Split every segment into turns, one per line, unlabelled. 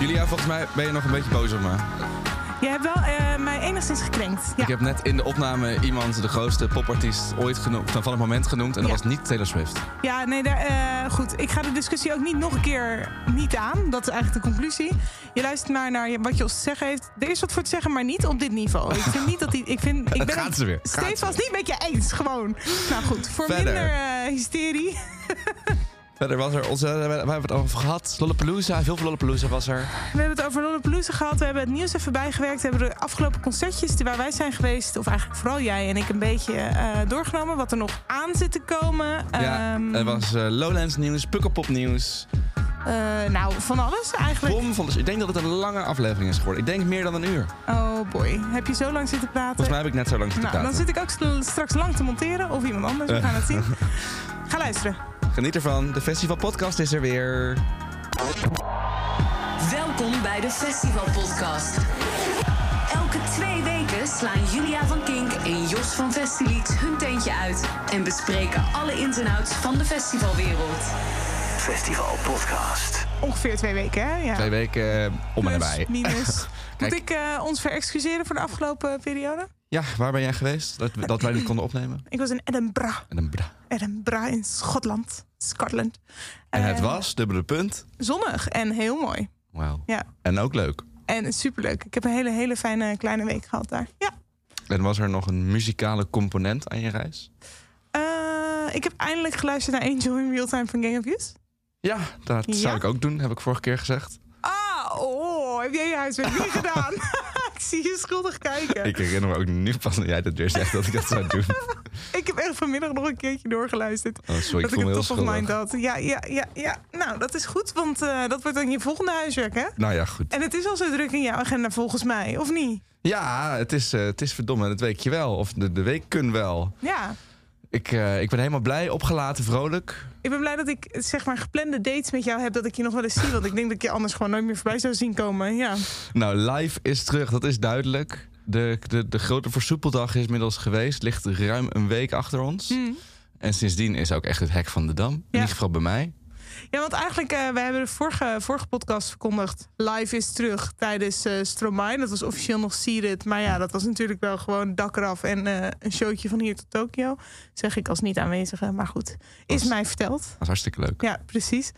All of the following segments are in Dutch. Julia, volgens mij ben je nog een beetje boos op me.
Je hebt wel eh, mij enigszins gekrenkt. Ja.
Ik heb net in de opname iemand de grootste popartiest ooit genoemd, van het moment genoemd. En dat
Ja.
was niet Taylor Swift.
Ja, nee, daar, eh, goed. Ik ga de discussie ook niet nog een keer niet aan. Dat is eigenlijk de conclusie. Je luistert maar naar je- wat je ons te zeggen heeft. Er is wat voor te zeggen, maar niet op dit niveau. Ik vind niet dat die. Ik, vind, ik ben
Gaat
het
ze weer. Gaat
Steeds was niet met je eens, gewoon. Nou goed, voor
Verder.
minder eh, hysterie.
Verder was er onze... We hebben het over gehad. Lollapalooza. Veel van Lollapalooza was er.
We hebben het over Lollapalooza gehad. We hebben het nieuws even bijgewerkt. We hebben de afgelopen concertjes waar wij zijn geweest... of eigenlijk vooral jij en ik een beetje eh, doorgenomen... wat er nog aan zit te komen.
ja,
Ehm,
er was eh, Lowlands nieuws, Pukkelpop nieuws.
eh, nou, van alles eigenlijk.
Bom van... Ik denk dat het een lange aflevering is geworden. Ik denk meer dan een uur.
Oh boy, heb je zo lang zitten praten?
Volgens mij heb ik net zo lang zitten
Nou, dan
praten. Eh.
zit ik ook sl- straks lang te monteren. Of iemand anders, we gaan het zien. Ga luisteren.
Geniet ervan. De Festival Podcast is er weer.
Welkom bij de Festival Podcast. Elke twee weken slaan Julia van Kink en Jos van Festilied hun tentje uit en bespreken alle ins en outs van de festivalwereld.
Festival Podcast.
Ongeveer twee weken, hè? Ja.
Twee weken eh, om en
Plus,
nabij.
minus. Moet
Kijk.
ik eh, ons verexcuseren voor de afgelopen periode?
Ja, waar ben jij geweest? Dat, dat wij niet konden opnemen.
Ik was in Edinburgh.
En, een bra.
Edinburgh in Schotland. Scotland.
en het
Eh,
was, dubbele punt.
Zonnig en heel mooi.
Wauw.
Ja.
En ook leuk.
En superleuk. Ik heb een hele, hele fijne kleine week gehad daar. Ja.
En was er nog een muzikale component aan je reis?
Eh, ik heb eindelijk geluisterd naar Angel in Real Time van Gang of Youth.
Ja, dat zou
Ja?
ik ook doen, heb ik vorige keer gezegd.
Ah, oh, heb jij je huiswerk niet gedaan? ik zie je schuldig kijken.
Ik herinner me ook nu pas dat jij dat weer zegt dat ik dat zou doen.
Ik heb echt vanmiddag nog een keertje doorgeluisterd.
Oh, sorry, ik
dat
voel
ik
me
het
heel
top of mind
schuldig.
had. Ja, ja, ja, ja. Nou, dat is goed, want eh, dat wordt dan je volgende huiswerk, hè?
Nou ja, goed.
En het is al zo druk in jouw agenda, volgens mij, of niet?
Ja, het is, eh, het is verdomme, het weekje wel. Of de, de week kun wel.
Ja.
Ik, eh, ik ben helemaal blij, opgelaten, vrolijk.
Ik ben blij dat ik zeg maar geplande dates met jou heb, dat ik je nog wel eens zie. Want ik denk dat ik je anders gewoon nooit meer voorbij zou zien komen. Ja.
Nou, live is terug, dat is duidelijk. De, de, de grote versoepeldag is inmiddels geweest. Ligt ruim een week achter ons.
Hmm.
En sindsdien is ook echt het hek van de dam. In ieder geval bij mij.
Ja, want eigenlijk, eh we hebben de vorige, vorige podcast verkondigd. Live is terug tijdens eh Stromae. Dat was officieel nog Seared. Maar ja, dat was natuurlijk wel gewoon dak eraf en eh, een showtje van hier tot Tokio. Zeg ik als niet aanwezige, maar goed. Is mij verteld.
Dat is hartstikke leuk.
Ja, precies.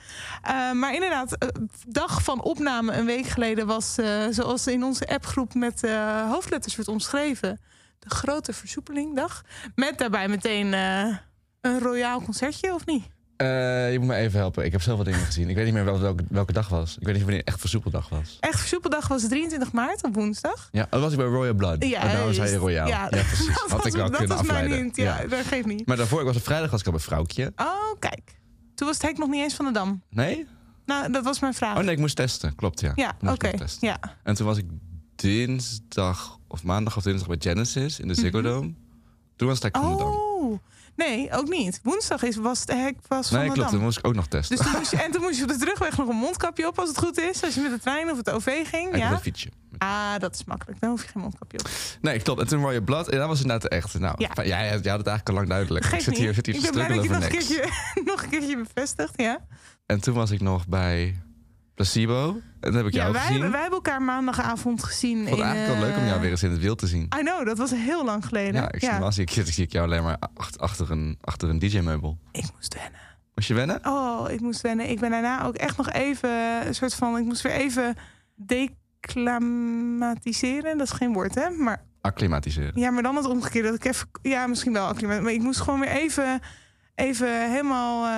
Eh, maar inderdaad, eh, dag van opname een week geleden was, eh, zoals in onze appgroep met eh, hoofdletters werd omschreven, de grote versoepelingdag. Met daarbij meteen eh, een royaal concertje, of niet?
Eh, je moet me even helpen. Ik heb zoveel dingen gezien. Ik weet niet meer wel- welke, welke dag was. Ik weet niet wanneer echt versoepeldag was.
Echt versoepeldag was 23 maart op woensdag.
Ja, dat was ik bij Royal Blood.
Ja,
en daarom zei je
juist.
Royal. Ja,
Ja.
precies.
Dat
Had
was-
ik wel
dat
kunnen
was mijn
afleiden.
hint, ja, dat geeft niet.
Maar daarvoor, ik was op vrijdag was ik al bij Vrouwtje.
Oh, kijk. Toen was het hek nog niet eens van de dam.
Nee?
Nou, dat was mijn vraag.
Oh nee, ik moest testen. Klopt, ja.
Ja,
Ik moest
oké.
nog testen.
Ja.
En toen was ik dinsdag of maandag of dinsdag bij Genesis in de Ziggo Dome. Toen was het hek van de Dam.
Mhm. Oh, nee, ook niet. Woensdag is, was het hek was van
Nee,
de
klopt.
dam.
Toen moest ik ook nog testen.
Dus toen moest je, en toen moest je op de terugweg nog een mondkapje op, als het goed is. Als je met de trein of het OV ging.
En
Ja.
een fietsje.
Ah, dat is makkelijk. Dan hoef je geen mondkapje op.
Nee, klopt. En toen Royal Blood. En dat was inderdaad echt. Nou,
Ja.
fijn, jij, jij had het eigenlijk al lang duidelijk. ik
Geeft
zit
niet.
hier, zit hier
ik
te
ben blij dat
struggelen
je
over
nog een,
niks.
keertje, nog een keertje bevestigt. Ja,
En toen was ik nog bij Placebo. En dat heb ik jou
wij,
gezien.
hebben- wij hebben elkaar maandagavond
Ik
gezien.
vond
in,
het eigenlijk wel leuk om jou
eh,
weer eens in het wild te zien.
I know, dat was heel lang geleden.
Ja, ik, zie- normaal zie ik, zie ik jou alleen maar ach- achter een, achter een DJ-meubel.
Ik moest wennen.
Moest je wennen?
Oh, ik moest wennen. Ik ben daarna ook echt nog even een soort van... Ik moest weer even declamatiseren. Dat is geen woord, hè? Maar
Acclimatiseren.
Ja, maar dan het omgekeerde. Dat ik even, ja, misschien wel acclimaat. Maar ik moest gewoon weer even, even helemaal. eh,
Er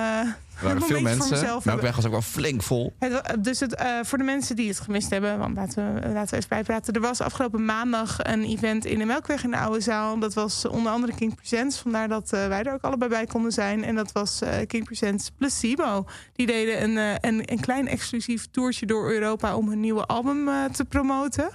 waren
een
veel
momentje
mensen.
Voor mezelf
Melkweg
hebben.
was ook wel flink vol.
Het wa- dus het, eh, voor de mensen die het gemist hebben, want laten we, eh, laten we even bijpraten. Er was afgelopen maandag een event in de Melkweg in de Oude Zaal. Dat was onder andere King Presents. Vandaar dat eh, wij er ook allebei bij konden zijn. En dat was eh, King Presents Placebo. Die deden een, eh, een, een klein exclusief toertje door Europa om hun nieuwe album eh, te promoten.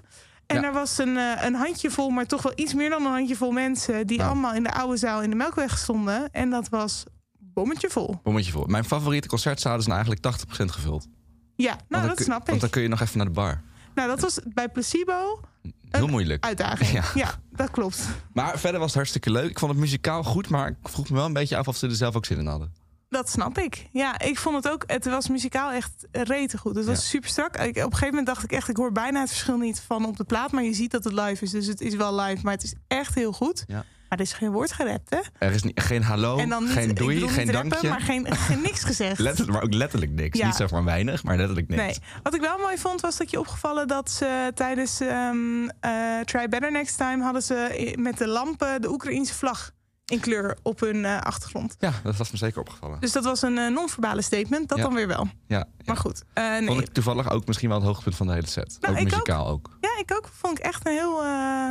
En
Ja.
daar was een, eh, een handjevol, maar toch wel iets meer dan een handjevol mensen... die
Nou.
allemaal in de Oude Zaal in de Melkweg stonden. En dat was bommetje vol.
Bommetje vol. Mijn favoriete concertzalen zijn eigenlijk 80% gevuld. Want
Ja, nou
dan
dat
kun-
snap
Want
ik.
dan kun je nog even naar de bar.
Nou, dat was bij Placebo...
Heel moeilijk.
uitdaging.
Ja.
Ja. dat klopt.
Maar verder was het hartstikke leuk. Ik vond het muzikaal goed, maar ik vroeg me wel een beetje af of ze er zelf ook zin in hadden.
Dat snap ik. Ja, ik vond het ook. Het was muzikaal echt rete goed. Het was
Ja.
super strak. Ik, op een gegeven moment dacht ik echt, ik hoor bijna het verschil niet van op de plaat, maar je ziet dat het live is. Dus het is wel live, maar het is echt heel goed.
Ja.
Maar er is geen woord gerapt, hè?
Er is ni- geen hallo,
en dan niet,
geen
ik
doei,
bedoel
geen
niet rappen,
dankje.
maar geen, geen niks gezegd.
Letterlijk, maar ook letterlijk niks.
Ja.
Niet zeg maar weinig, maar letterlijk niks.
Nee. Wat ik wel mooi vond, was dat je opgevallen dat ze tijdens ehm, eh, Try Better Next Time hadden ze i- met de lampen de Oekraïense vlag in kleur op hun eh, achtergrond.
Ja, dat was me zeker opgevallen.
Dus dat was een eh, non-verbale statement. Dat
Ja.
dan weer wel.
Ja, ja.
Maar goed. eh, nee.
Vond ik toevallig ook misschien wel het hoogtepunt van de hele set.
Nou,
ook
ik ook.
muzikaal ook.
Ja, ik ook. Vond ik echt een heel eh,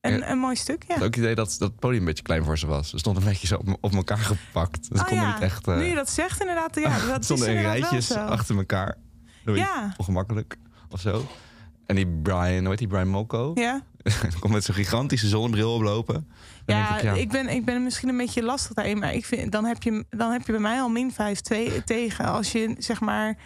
een,
Ja.
een mooi stuk. Ja.
Ik had ook het idee dat dat podium een beetje klein voor ze was. Ze stonden een beetje zo op, op elkaar gepakt. Dus
Oh
kon
ja,
niet echt... eh,
Nu je dat zegt, inderdaad. Ja, dat is
stonden in
inderdaad wel
rijtjes
zo.
achter elkaar. Dat weet
Ja.
je, ongemakkelijk of zo. En die Brian, hoe heet die Brian Molko?
Ja,
Komt met zo'n gigantische zonnebril oplopen. Dan
ja,
denk
ik, ben, ik ben misschien een beetje lastig daarin. Maar ik vind, dan, heb je, dan heb je bij mij al min 5 twee- tegen. Als je zeg maar.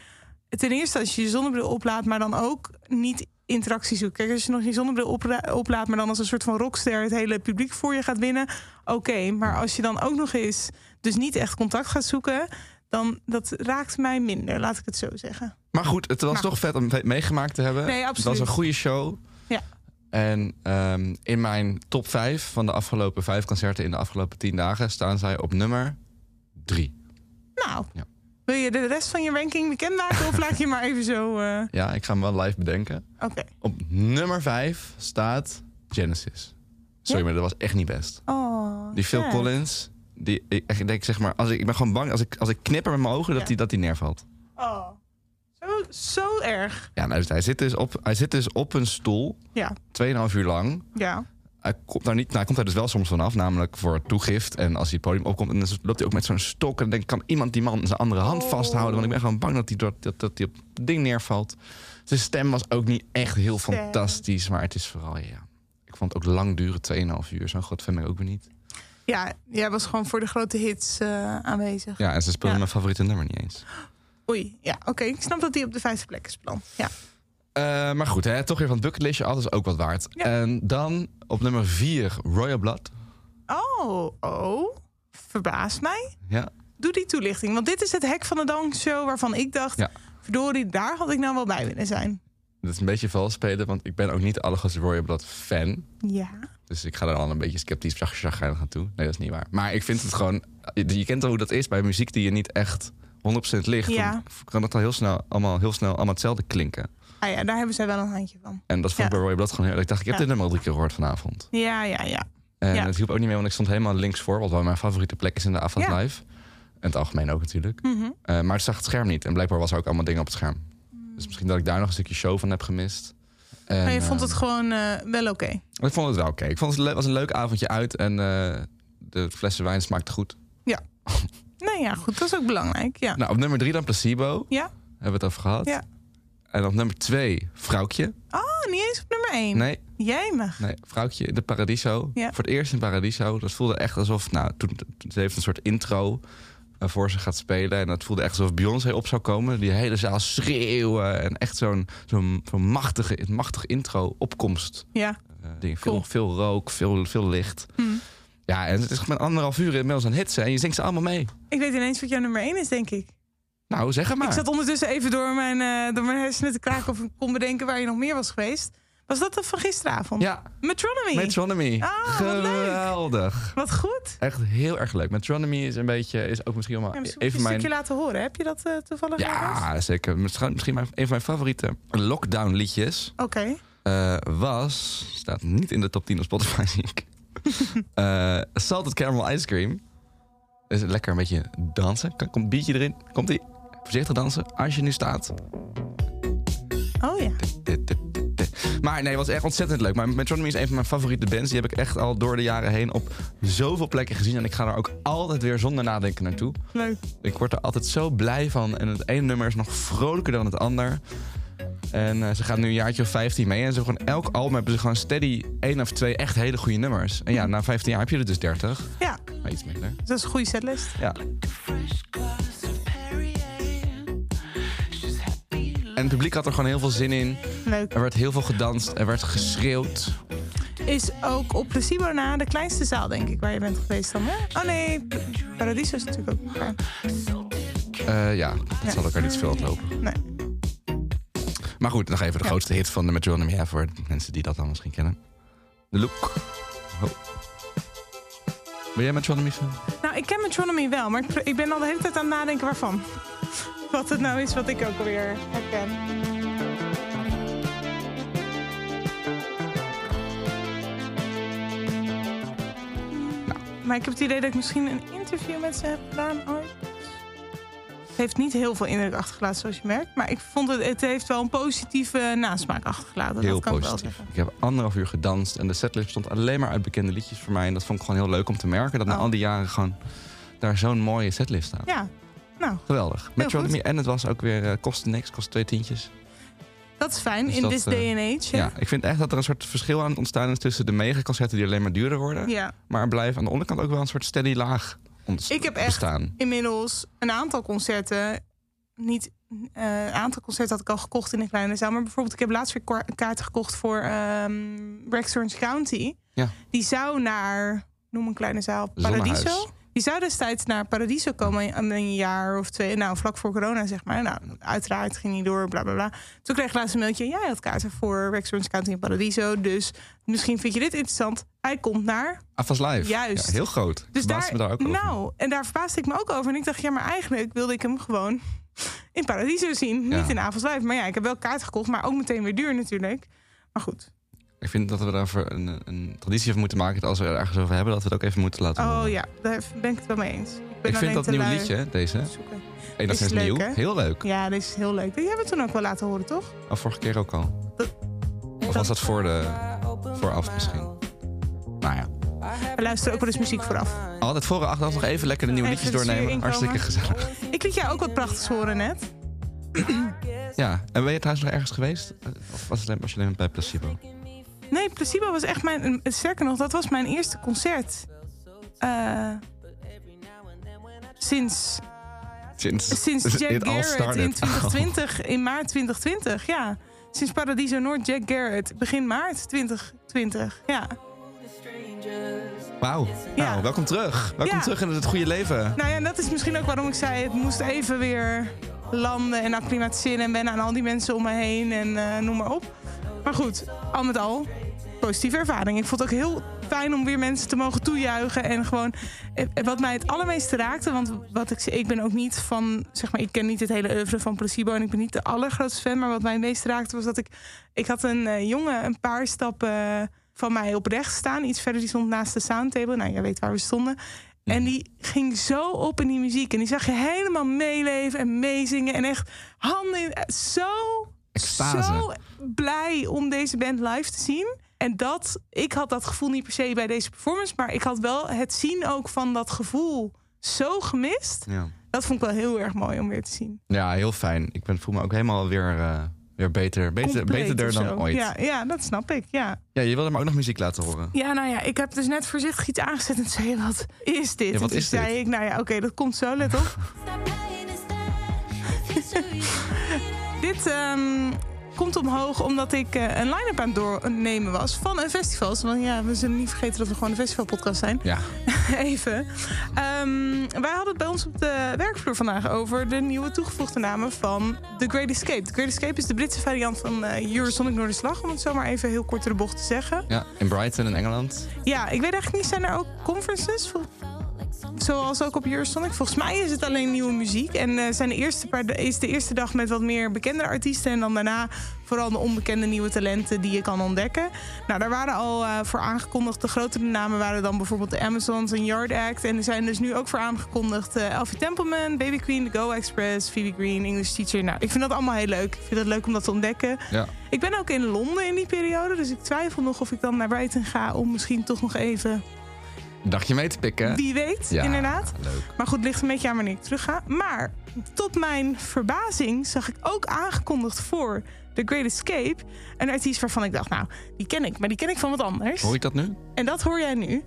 Ten eerste als je je zonnebril oplaat, maar dan ook niet interactie zoekt. Kijk, als je nog je zonnebril opra- oplaat, maar dan als een soort van rockster het hele publiek voor je gaat winnen. Oké, maar als je dan ook nog eens dus niet echt contact gaat zoeken, dan dat raakt mij minder, laat ik het zo zeggen.
Maar goed, het was
Maar-
toch vet om ve- meegemaakt te hebben.
Nou. Nee, absoluut.
Het was een goede show.
Ja.
En ehm, in mijn top 5 van de afgelopen vijf concerten in de afgelopen tien dagen staan zij op nummer 3.
Nou,
Ja.
wil je de rest van je ranking bekendmaken of laat je maar even zo... eh,
Ja, ik ga hem wel live bedenken.
Oké.
Op nummer 5 staat Genesis. Sorry,
Ja?
maar dat was echt niet best.
Oh,
Die Phil
ja.
Collins. Die, ik, ik denk zeg maar, als ik, ik ben gewoon bang als ik, als ik knipper met mijn ogen dat
Ja.
die, dat die neervalt.
Oh, zo, zo erg.
Ja, nou, dus hij, zit dus op, hij zit dus op een stoel,
Ja,
2,5 uur lang.
ja.
Hij komt daar, niet, nou, hij komt daar dus wel soms vanaf, namelijk voor toegift. En als hij het podium opkomt, en dan loopt hij ook met zo'n stok. En dan denk ik, kan iemand die man in zijn andere hand
Oh.
vasthouden? Want ik ben gewoon bang dat hij dat, dat, dat die op het ding neervalt. Zijn stem was ook niet echt heel
Stem.
fantastisch, maar het is vooral, ja... Ik vond het ook lang duren, 2,5 uur. Zo'n groot fan ben ik ook weer niet.
Ja, jij was gewoon voor de grote hits eh, aanwezig.
Ja, en ze speelden
Ja.
mijn favoriete nummer niet eens.
Oei, ja, oké. Ik snap dat die op de vijfde plek is plan. Ja.
Eh, maar goed, hè, toch weer van het bucketlistje, alles ook wat waard.
Ja.
En dan op nummer 4, Royal Blood.
Oh, oh. Verbaas mij.
Ja,
Doe die toelichting. Want dit is het hek van de dankshow waarvan ik dacht...
Ja.
verdorie, daar had ik nou wel bij willen zijn.
dat is een beetje vals spelen, want ik ben ook niet de allergrootste Royal Blood fan.
Ja.
Dus ik ga er al een beetje sceptisch chagrijnig aan toe. Nee, dat is niet waar. Maar ik vind het gewoon... Je je kent wel hoe dat is bij muziek die je niet echt 100% ligt.
Ja.
Dan kan het al heel snel, allemaal, heel snel allemaal hetzelfde klinken.
Ah ja, daar hebben zij wel een handje van.
En dat vond ik bij
Ja.
Royal Blood gewoon heel... Ik dacht, ik heb
Ja.
dit nummer al drie keer gehoord vanavond.
Ja, ja, ja.
En
Ja.
het hielp ook niet meer, want ik stond helemaal links voor. Wat wel mijn favoriete plek is in de avond
Ja.
live. En het algemeen ook natuurlijk.
Mhm.
Eh, maar het zag het scherm niet. En blijkbaar was er ook allemaal dingen op het scherm. Dus misschien dat ik daar nog een stukje show van heb gemist. En,
Maar je vond het
eh,
gewoon eh, wel oké.
ik vond het wel oké. Ik vond het le- was een leuk avondje uit. En eh, de flessen wijn smaakte goed.
Nou ja, goed, dat is ook belangrijk. Ja.
Nou, op nummer drie dan Placebo.
Ja.
Hebben we het over gehad.
Ja.
En op nummer twee, Vrouwtje.
Oh, niet eens op nummer 1.
Nee,
Jij mag.
nee Vrouwtje in de Paradiso.
Ja.
Voor het eerst in Paradiso. Dat voelde echt alsof... Nou, toen, ze heeft een soort intro eh, voor ze gaat spelen. En dat voelde echt alsof Beyoncé op zou komen. Die hele zaal schreeuwen. En echt zo'n zo'n zo'n machtige, machtige intro opkomst
Ja.
eh, dingen.
Cool.
Veel, veel rook, veel, veel licht.
Hmm.
Ja, en het is met anderhalf uur inmiddels aan hits. Hè, en je zingt ze allemaal mee.
Ik weet ineens wat jouw nummer 1 is, denk ik.
Nou, zeg het maar.
Ik zat ondertussen even door mijn, eh, door mijn hersenen te kraken of ik kon bedenken waar je nog meer was geweest. Was dat dat van gisteravond?
Ja,
Metronomy.
Metronomy.
Ah, wat leuk.
Geweldig.
wat goed.
Echt heel erg leuk. Metronomy is een beetje, is ook misschien wel
Ja,
maar
misschien moet je
even
een stukje
mijn...
laten horen. Heb je dat eh, toevallig ergens?
Ja, zeker. Misschien, misschien mijn- een van mijn favoriete lockdown liedjes
Oké.
eh, was... Staat niet in de top 10 op Spotify, zie ik. Eh, salted Caramel Ice Cream. Dus lekker een beetje dansen. Komt een biertje erin. Komt-ie. Voorzichtig dansen. Als je nu staat.
Oh ja.
Maar nee, het was echt ontzettend leuk. Maar Metronomy is een van mijn favoriete bands. Die heb ik echt al door de jaren heen op zoveel plekken gezien. En ik ga er ook altijd weer zonder nadenken naartoe.
Leuk.
Ik word er altijd zo blij van. En het ene nummer is nog vrolijker dan het ander. En eh, ze gaan nu een jaartje of 15 mee. En ze hebben gewoon elk album hebben ze gewoon steady één of twee echt hele goede nummers. En ja, na 15 jaar heb je er dus 30.
Ja,
Maar iets minder.
dat is een goede setlist.
Ja.
Fresh glass of Perrier. She's happy
En het publiek had er gewoon heel veel zin in.
Leuk.
Er werd heel veel gedanst. Er werd geschreeuwd.
is ook op Placebo na de kleinste zaal, denk ik, waar je bent geweest dan, hè? Oh nee, Paradiso is natuurlijk ook elkaar.
Eh, ja, dat
Ja.
zal elkaar niet veel lopen.
Nee.
Maar goed, nog even de
Ja.
grootste hit van de Metronomy Air voor mensen die dat dan misschien kennen. De Look. Oh. Ben jij Metronomy fan?
Nou, ik ken Metronomy wel, maar ik, pr- ik ben al de hele tijd aan het nadenken waarvan. Wat het nou is wat ik ook alweer herken. Nou, Maar ik heb het idee dat ik misschien een interview met ze heb gedaan ooit. Het heeft niet heel veel indruk achtergelaten, zoals je merkt. Maar ik vond het, het heeft wel een positieve nasmaak achtergelaten.
Heel
dat kan ik wel
positief.
zeggen.
Ik heb anderhalf uur gedanst en de setlist bestond alleen maar uit bekende liedjes voor mij. En dat vond ik gewoon heel leuk om te merken. Dat na
Oh.
al die jaren gewoon daar zo'n mooie setlist staat.
Ja, nou,
Geweldig. Metronomy. En het was ook weer, eh kostte niks, kostte twee tientjes.
dat is fijn
Dus
in
dat,
this
eh,
day and age. hè?
Ja. ik vind echt dat er een soort verschil aan het ontstaan is tussen de megaconcerten die alleen maar duurder worden.
ja.
Maar er blijft aan de onderkant ook wel een soort steady laag ont-
Ik heb echt-
bestaan.
inmiddels een aantal concerten. Niet eh, een aantal concerten had ik al gekocht in een kleine zaal. Maar bijvoorbeeld, ik heb laatst weer kwa- kaarten gekocht voor ehm Rexhorns County.
Ja.
Die zou naar, noem een kleine zaal,
Zonnehuis.
Paradiso. Die zou destijds naar Paradiso komen in- een jaar of twee. Nou, vlak voor corona, zeg maar. Nou, uiteraard ging niet door, bla bla bla. Toen kreeg ik laatst een mailtje. Jij had kaarten voor Rexhorns County in Paradiso. Dus misschien vind je dit interessant. Hij komt naar
Afas Live.
Juist.
Ja, heel groot.
dus
Dus
daar,
me daar ook over.
nou, en daar verbaasde ik me ook over. En ik dacht, ja, maar eigenlijk wilde ik hem gewoon in Paradiso zien.
Ja.
Niet in Avals Live. Maar ja, ik heb wel kaart gekocht, maar ook meteen weer duur natuurlijk. Maar goed.
Ik vind dat we daarvoor een, een traditie van moeten maken. dat Als we er ergens over hebben, dat we het ook even moeten laten
Oh
horen.
ja, daar ben ik het wel mee eens. Ik, ben
Ik vind
alleen
dat
te
nieuwe
lui
liedje, hè, deze.
om te zoeken.
Enigszins
leuk,
nieuw.
hè?
Heel leuk.
Ja, dit is heel leuk. Die hebben we toen ook wel laten horen, toch?
Of vorige keer ook al.
Dat-
Of was dat voor de... Vooraf misschien. Nou ja.
We luisteren ook wel eens muziek vooraf.
Altijd voor en achteraf nog even lekker de nieuwe
Even
liedjes
het zuur
doornemen.
inkomen.
Hartstikke gezellig.
Ik liet jou ook wat prachtigs horen net.
Ja. En ben je trouwens nog ergens geweest? Of was, het, alleen- was je alleen bij Placebo?
Nee, Placebo was echt mijn... eh, Sterker nog, dat was mijn eerste concert. Eh, sinds
Sinds,
Sinds
it
Jack
all
Garrett
started.
in 2020, in maart 2020, ja. Sinds Paradiso Noord, Jack Garrett, begin maart 2020, ja.
Wauw.
Ja.
Nou, welkom terug. Welkom
Ja.
terug in het goede leven.
Nou ja, en dat is misschien ook waarom ik zei, het moest even weer landen en acclimatiseren en wennen aan al die mensen om me heen en eh, noem maar op. Maar goed, al met al, positieve ervaring. Ik vond het ook heel fijn om weer mensen te mogen toejuichen en gewoon, eh, eh, wat mij het allermeeste raakte, want wat ik, ik ben ook niet van, zeg maar, ik ken niet het hele oeuvre van Placebo en ik ben niet de allergrootste fan, maar wat mij het meest raakte was dat ik, ik had een eh, jongen een paar stappen eh, van mij oprecht staan, iets verder, die stond naast de soundtable, nou jij weet waar we stonden. En die ging zo op in die muziek. En die zag je helemaal meeleven en meezingen. En echt handen in... eh, Zo,
Extase.
zo blij om deze band live te zien. En dat, ik had dat gevoel niet per se bij deze performance. Maar ik had wel het zien ook van dat gevoel zo gemist.
Ja.
Dat vond ik wel heel erg mooi om weer te zien.
Ja, heel fijn. Ik ben, voel me ook helemaal weer, eh, weer beter. Beter,
Compleet
beterder
of
dan
zo.
ooit. Ja.
Ja, ja, dat snap ik. Ja.
je wilde me ook nog muziek laten horen.
Ja, nou ja, ik heb dus net voorzichtig iets aangezet en zei: Wat is dit?
Ja, wat
en toen
is dit?
zei ik: Nou ja, oké, dat komt zo, let op. dit ehm, komt omhoog omdat ik eh, een line-up aan het doornemen was van een festival. Want ja, we zullen niet vergeten dat we gewoon een festivalpodcast zijn.
Ja.
Even. Ehm, wij hadden het bij ons op de werkvloer vandaag over de nieuwe toegevoegde namen van The Great Escape. The Great Escape is de Britse variant van eh Eurosonic Noorderslag, om het zo maar even heel kort door de bocht te zeggen.
ja. In Brighton in Engeland.
Ja, ik weet eigenlijk niet, zijn er ook conferences? Vol- Zoals ook op Eurosonic. Volgens mij is het alleen nieuwe muziek. En eh, zijn de eerste paar, da- is de eerste dag met wat meer bekendere artiesten. En dan daarna vooral de onbekende nieuwe talenten die je kan ontdekken. Nou, daar waren al eh, voor aangekondigd. De grotere namen waren dan bijvoorbeeld de Amazons en Yard Act. En er zijn dus nu ook voor aangekondigd eh Alfie Templeman, Baby Queen, The Go Express, Phoebe Green, English Teacher. Nou, ik vind dat allemaal heel leuk. Ik vind het leuk om dat te ontdekken.
Ja.
Ik ben ook in Londen in die periode, dus ik twijfel nog of ik dan naar Brighton ga om misschien toch nog even,
Dagje mee te pikken.
wie weet,
Ja,
inderdaad.
Leuk.
Maar goed, ligt een beetje aan wanneer ik terug ga. Maar tot mijn verbazing zag ik ook aangekondigd voor The Great Escape een artiest waarvan ik dacht, nou, die ken ik, maar die ken ik van wat anders.
Hoor ik dat nu?
En dat hoor jij nu.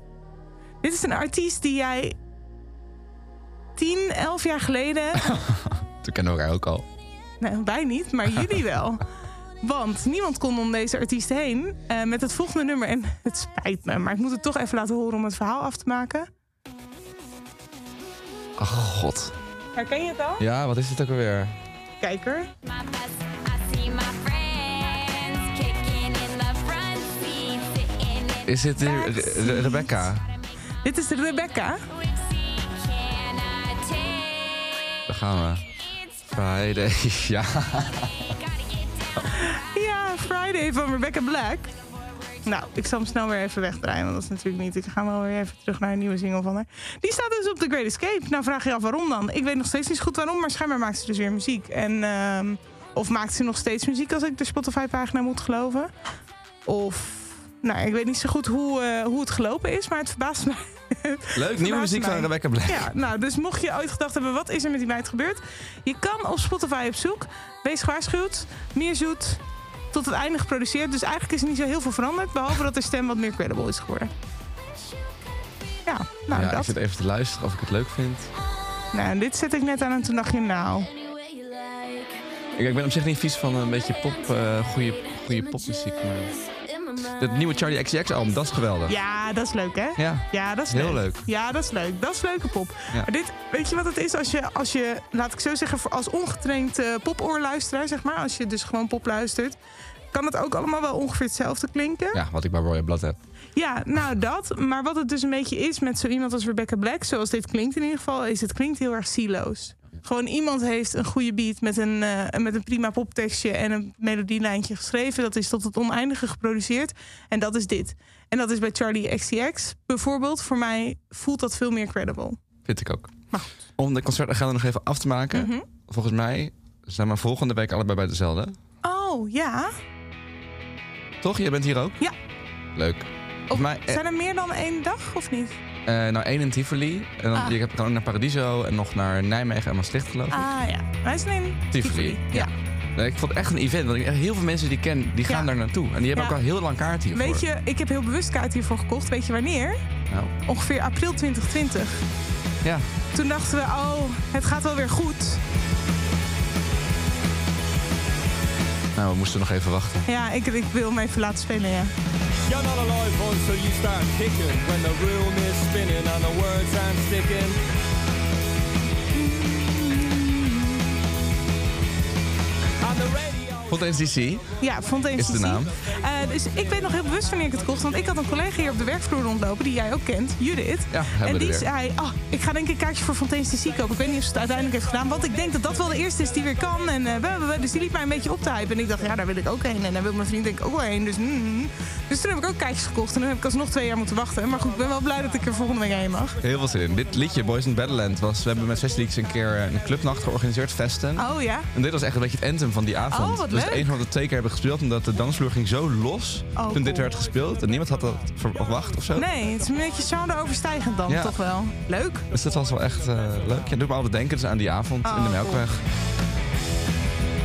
Dit is een artiest die jij 10, 11 jaar geleden
Toen kennen we elkaar ook al.
Nou, wij niet, maar jullie wel. Want niemand kon om deze artiest heen eh, met het volgende nummer. En het spijt me, maar ik moet het toch even laten horen om het verhaal af te maken.
Ach, god.
Herken je het al?
Ja, wat is dit ook alweer?
Kijker.
My best, I see my friends kicking in the front seat, sitting in
Is dit de- Re- Rebecca?
Dit is Rebecca.
quick seat. Can I take?
Daar gaan we. Friday. Ja.
Gotta get down.
Ja, Friday van Rebecca Black. Nou, ik zal hem snel weer even wegdraaien, want dat is natuurlijk niet. Ik ga wel weer even terug naar een nieuwe single van haar. Die staat dus op The Great Escape. Nou vraag je je af waarom dan? Ik weet nog steeds niet zo goed waarom, maar schijnbaar maakt ze dus weer muziek. En, ehm, of maakt ze nog steeds muziek als ik de Spotify-pagina moet geloven? Of, nou, ik weet niet zo goed hoe, eh, hoe het gelopen is, maar het verbaast me.
Leuk, nieuwe muziek van
mij.
Rebecca Black.
Ja, nou, dus mocht je ooit gedacht hebben, wat is er met die meid gebeurd? Je kan op Spotify op zoek. Wees gewaarschuwd. Meer zoet. Tot het einde geproduceerd. Dus eigenlijk is er niet zo heel veel veranderd. Behalve dat de stem wat meer credible is geworden. Ja, nou
Ja, ik
dat.
zit even te luisteren of ik het leuk vind.
Nou, en dit zet ik net aan en toen dacht je, nou...
Ik, ik ben op zich niet vies van een beetje pop, eh goede, goede popmuziek. Maar... Het nieuwe Charlie XCX album, dat is geweldig.
Ja, dat is leuk, hè?
Ja.
Ja, dat is
Heel
leuk.
leuk.
Ja, dat is leuk. Dat is leuke pop.
Ja.
Maar dit, weet je wat het is als je, als je laat ik zo zeggen, voor als ongetraind eh, popoorluisteraar, zeg maar, als je dus gewoon pop luistert, kan het ook allemaal wel ongeveer hetzelfde klinken.
Ja, wat ik bij Royal Blood heb.
Ja, nou dat. Maar wat het dus een beetje is met zo iemand als Rebecca Black, zoals dit klinkt in ieder geval, is het klinkt heel erg siloos. Gewoon iemand heeft een goede beat met een, eh, met een prima poptekstje en een melodielijntje geschreven. Dat is tot het oneindige geproduceerd. En dat is dit. En dat is bij Charlie XCX bijvoorbeeld. Voor mij voelt dat veel meer credible.
Vind ik ook.
Maar goed.
Om de concertagenda nog even af te maken.
Mhm.
Volgens mij zijn we volgende week allebei bij dezelfde.
Oh, ja.
Toch? Jij bent hier ook?
Ja.
Leuk.
Of
Volgens mij, eh,
Zijn er meer dan één dag of niet?
eh, nou één in Tivoli. En dan,
Ah.
je hebt dan ook naar Paradiso en nog naar Nijmegen en Maastricht geloof ik.
Ah ja, wij zijn in
Tivoli.
Ja.
Nee, ik vond het echt een event. Want ik- heel veel mensen die ik ken, die gaan
Ja.
daar naartoe. En die hebben
Ja.
ook al heel lang kaart hiervoor.
Weet je, ik heb heel bewust kaart hiervoor gekocht. Weet je wanneer?
Nou,
Ongeveer april 2020.
ja.
Toen dachten we, oh, het gaat wel weer goed.
nou, we moesten nog even wachten.
Ja, ik, ik wil hem even laten spelen, ja.
You're not alive until you start kicking when the room is spinning and the words aren't sticking. And the radio.
Vond DC.
Ja, vond eens
Is de
te zien.
naam?
Eh, dus ik weet nog heel bewust wanneer ik het kocht. Want ik had een collega hier op de werkvloer rondlopen, die jij ook kent, Judith.
Ja, hebben
en
we
die
er weer.
zei, oh, ik ga denk ik een kaartje voor Fontaine's DC kopen. Ik weet niet of ze het uiteindelijk heeft gedaan. Want ik denk dat dat wel de eerste is die weer kan. En, eh, blah, blah, blah. dus die liet mij een beetje op te hypen. En ik dacht, ja, daar wil ik ook heen. En daar wil mijn vriend denk ik ook wel heen. Dus, mm. dus toen heb ik ook kaartjes gekocht. En toen heb ik alsnog twee jaar moeten wachten. Maar goed, ik ben wel blij dat ik er volgende week heen mag.
Heel veel zin in. Dit liedje, Boys in Battleland, was... We hebben met Zes Leaks een keer eh, een clubnacht georganiseerd, Festen.
Oh ja?
En dit was echt een beetje het anthem van die avond.
Oh, wat
dus het
leuk. Oh,
enige wat we twee keer hebben gespeeld, omdat de dansvloer ging zo los toen dit
cool.
werd gespeeld. En niemand had dat verwacht of zo.
Nee, het is een beetje genre overstijgend dan,
Ja.
toch wel. Leuk.
Dus dat was wel echt eh, leuk. Ja, doet me altijd denken dus aan die avond in de
Oh,
Melkweg.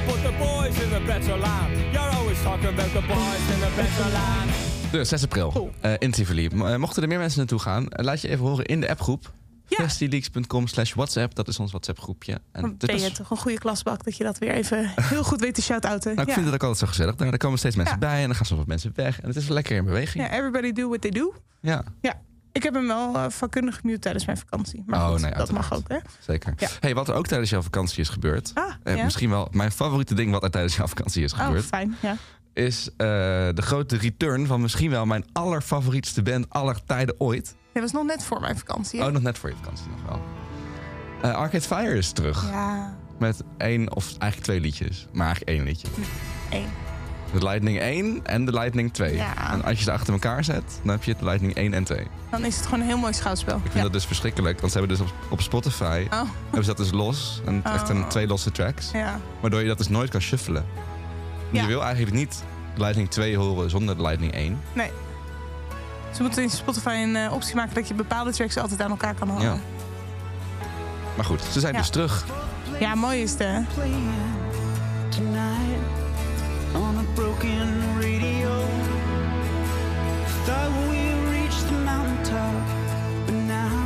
But the boys in the better land. You're always talking about the boys in the better land.
Dus 6 april
Cool.
eh, in Tivoli. Mo- eh, mochten er meer mensen naartoe gaan, eh, laat je even horen in de appgroep.
Ja.
Festileaks.com slash WhatsApp, dat is ons WhatsApp groepje. En
Dan
het is
ben je
best-
toch een goede klasbak dat je dat weer even heel goed weet te shout-outen.
nou, ik
ja.
vind het ook altijd zo gezellig. Daar, daar komen steeds mensen
Ja.
bij en dan gaan soms wat mensen weg. En het is wel lekker in beweging.
ja, everybody do what they do.
ja.
Ja, ik heb hem wel eh, vakkundig gemute tijdens mijn vakantie. Maar
Oh,
goed,
nee,
dat
uiteraard.
mag ook, hè?
Zeker.
Ja.
Hey, wat er ook tijdens jouw vakantie is gebeurd.
Ah,
eh,
ja.
Misschien wel mijn favoriete ding wat er tijdens jouw vakantie is
Oh,
gebeurd.
fijn, ja.
Is eh, de grote return van misschien wel mijn allerfavorietste band aller tijden ooit.
Dat was nog net voor mijn vakantie. hè?
Oh, nog net voor je vakantie nog wel. Eh, Arcade Fire is terug.
Ja,
Met één of eigenlijk twee liedjes. Maar eigenlijk één liedje.
één.
De Lightning 1 en de Lightning 2.
Ja.
En als je ze achter elkaar zet, dan heb je de Lightning 1 en 2.
Dan is het gewoon een heel mooi schouwspel.
Ik vind
ja.
dat dus verschrikkelijk, want ze hebben dus op, op Spotify...
Oh,
hebben ze dat dus los. En echt een, twee losse tracks.
ja.
Waardoor je dat dus nooit kan shuffelen. En
Ja.
Je wil eigenlijk niet Lightning 2 horen zonder de Lightning 1.
Nee. Ze moeten in Spotify een eh, optie maken dat je bepaalde tracks altijd aan elkaar kan halen.
Maar goed, ze zijn
Ja.
dus terug.
Ja, mooi is het, hè?
playing tonight on a broken radio. Thought we reached the mountaintop, but now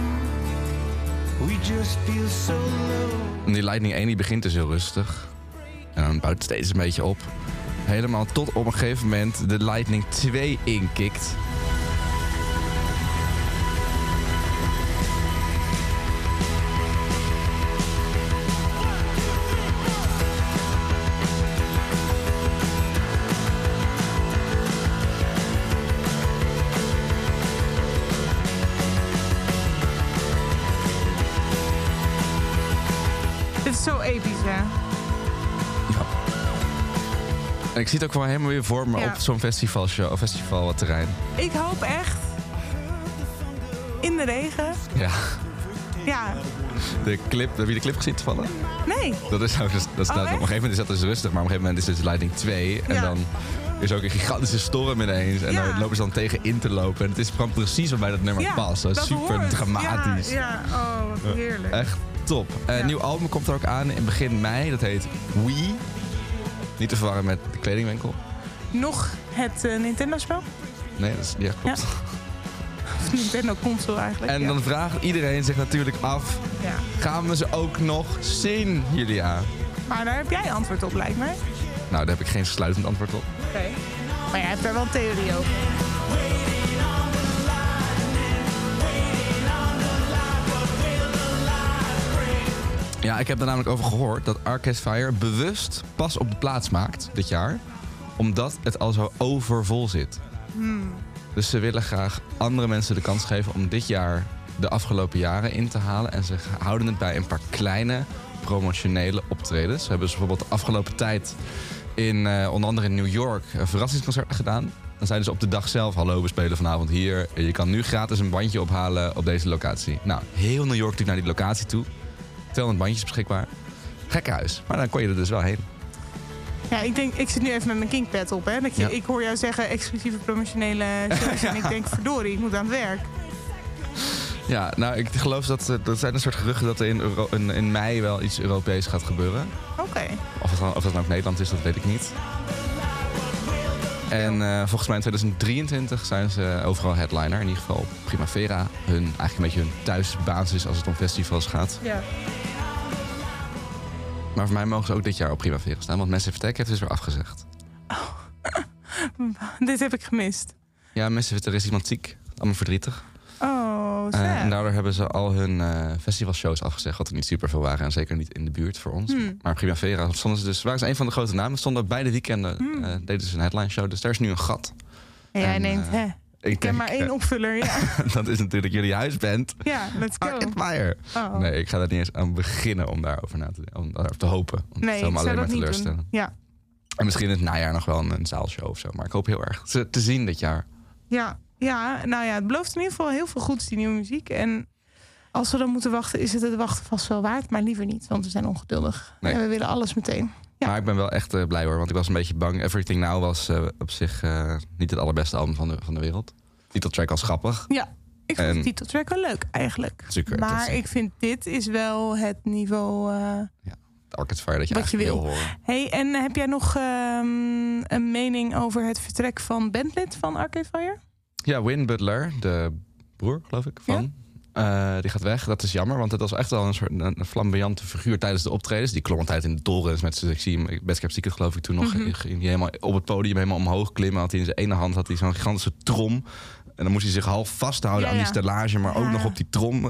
we just feel so low.
En die Lightning 1 die begint dus heel rustig. En dan bouwt het steeds een beetje op. Helemaal tot op een gegeven moment de Lightning 2 inkikt.
Dit is zo episch, hè?
Ja. En ik zie het ook wel helemaal weer voor me
Ja.
op zo'n festivalshow, of festivalterrein.
Ik hoop echt... In de regen?
Ja,
Ja.
de clip, heb je de clip gezien vallen?
Nee.
Dat is ook, dus- dat staat, op een
Oh, echt?
gegeven moment is dat dus rustig, maar op een gegeven moment is dus Lightning 2. En
Ja.
dan is ook een gigantische storm ineens. En
Ja.
daar lopen ze dan tegen in te lopen. En het is gewoon precies waarbij dat nummer
Ja,
past. Dat is
dat
super
hoort.
dramatisch.
Ja, ja. oh, wat heerlijk.
Echt top. Eh,
Ja.
Nieuw album komt er ook aan in begin mei. Dat heet We. Niet te verwarren met de kledingwinkel.
Nog het eh, Nintendo-spel?
Nee, dat is niet echt klopt.
Ja. Of Nintendo-console eigenlijk.
En
ja.
dan vraagt iedereen zich natuurlijk af...
Ja.
gaan we ze ook nog zien, Julia?
Maar daar heb jij antwoord op, lijkt mij. Oké.
Nou, daar heb ik geen sluitend antwoord op.
Maar jij hebt daar wel een theorie over.
Ja, ik heb er namelijk over gehoord dat Arcade Fire bewust pas op de plaats maakt dit jaar. Omdat het al zo overvol zit. Dus ze willen graag andere mensen de kans geven om dit jaar de afgelopen jaren in te halen. En ze houden het bij een paar kleine promotionele optredens. Ze hebben dus bijvoorbeeld de afgelopen tijd in eh, onder andere in New York een verrassingsconcert gedaan. Dan zeiden ze op de dag zelf: Hallo, we spelen vanavond hier. Je kan nu gratis een bandje ophalen op deze locatie. Nou, heel New York liep naar die locatie toe. 200 bandjes beschikbaar. Gekhuis. Maar dan kon je er dus wel heen.
Ja, ik, denk, ik zit nu even met mijn kinkpad op. Hè. Dat je,
Ja.
Ik hoor jou zeggen exclusieve promotionele shows. En ik denk, verdorie, ik moet aan het werk.
Ja, nou, ik geloof dat eh, er zijn een soort geruchten dat er in, Euro- in, in mei wel iets Europees gaat gebeuren.
Oké.
Of, het dan, of dat nou ook Nederland is, dat weet ik niet. En eh, volgens mij in 2023 zijn ze overal headliner. In ieder geval Primavera. Hun, eigenlijk een beetje hun thuisbasis als het om festivals gaat.
Ja.
Maar voor mij mogen ze ook dit jaar op Primavera staan. Want Massive Attack heeft dus weer afgezegd.
Dit heb ik gemist.
Ja, Massive, er is iemand ziek. Allemaal verdrietig.
Oh, sad.
Eh, en daardoor hebben ze al hun eh festivalshows afgezegd. Wat er niet super veel waren. En zeker niet in de buurt voor ons.
Hmm.
Maar Primavera stonden ze dus, waren ze een van de grote namen. Stonden beide weekenden
Hmm.
eh, deden ze een headline show. Dus daar is nu een gat.
en jij
en,
denkt,
eh,
hè, ik
denk,
ken maar één
eh,
opvuller. Ja,
dat is natuurlijk jullie huisband.
ja let's go.
Arcade Fire.
Oh.
Ah, Nee, ik ga daar niet eens aan beginnen om daarover na te, om daarop te hopen. Want
Nee,
zou
ik
me
zou
alleen
dat
maar
niet
teleurstellen.
doen. Ja.
En misschien in het najaar nog wel een, een zaalshow of zo. Maar ik hoop heel erg ze te zien dit jaar.
Ja. ja, nou ja, het belooft in ieder geval heel veel goeds, die nieuwe muziek. En als we dan moeten wachten, is het het wachten vast wel waard. Maar liever niet, want we zijn ongeduldig.
Nee.
En we willen alles meteen. Ja.
Maar ik ben wel echt eh, blij hoor. Want ik was een beetje bang. Everything Now was eh, op zich eh, niet het allerbeste album van de, van de wereld. Titeltrack als grappig.
Ja, ik vind
En-
de titeltrack wel leuk eigenlijk.
Zeker, dat
maar
zeker.
ik vind dit is wel het niveau... eh,
Arcade Fire dat je
Wat je
eigenlijk
wil.
wil horen.
Hey, en eh, heb jij nog ehm, een mening over het vertrek van bandlid van Arcade Fire?
Ja, Win Butler, de broer geloof ik van. eh, die gaat weg. Dat is jammer, want het was echt wel een soort een, een flamboyante figuur tijdens de optredens. Die klom altijd in de torens met zijn ik zie hem- Best Kept Secret geloof ik toen
Mhm.
nog. Ging hij helemaal op het podium helemaal omhoog klimmen. Had hij in zijn ene hand had hij zo'n gigantische trom. En dan moest hij zich half vasthouden
Ja,
aan die
ja.
stellage, maar
Ja.
ook nog op die trom.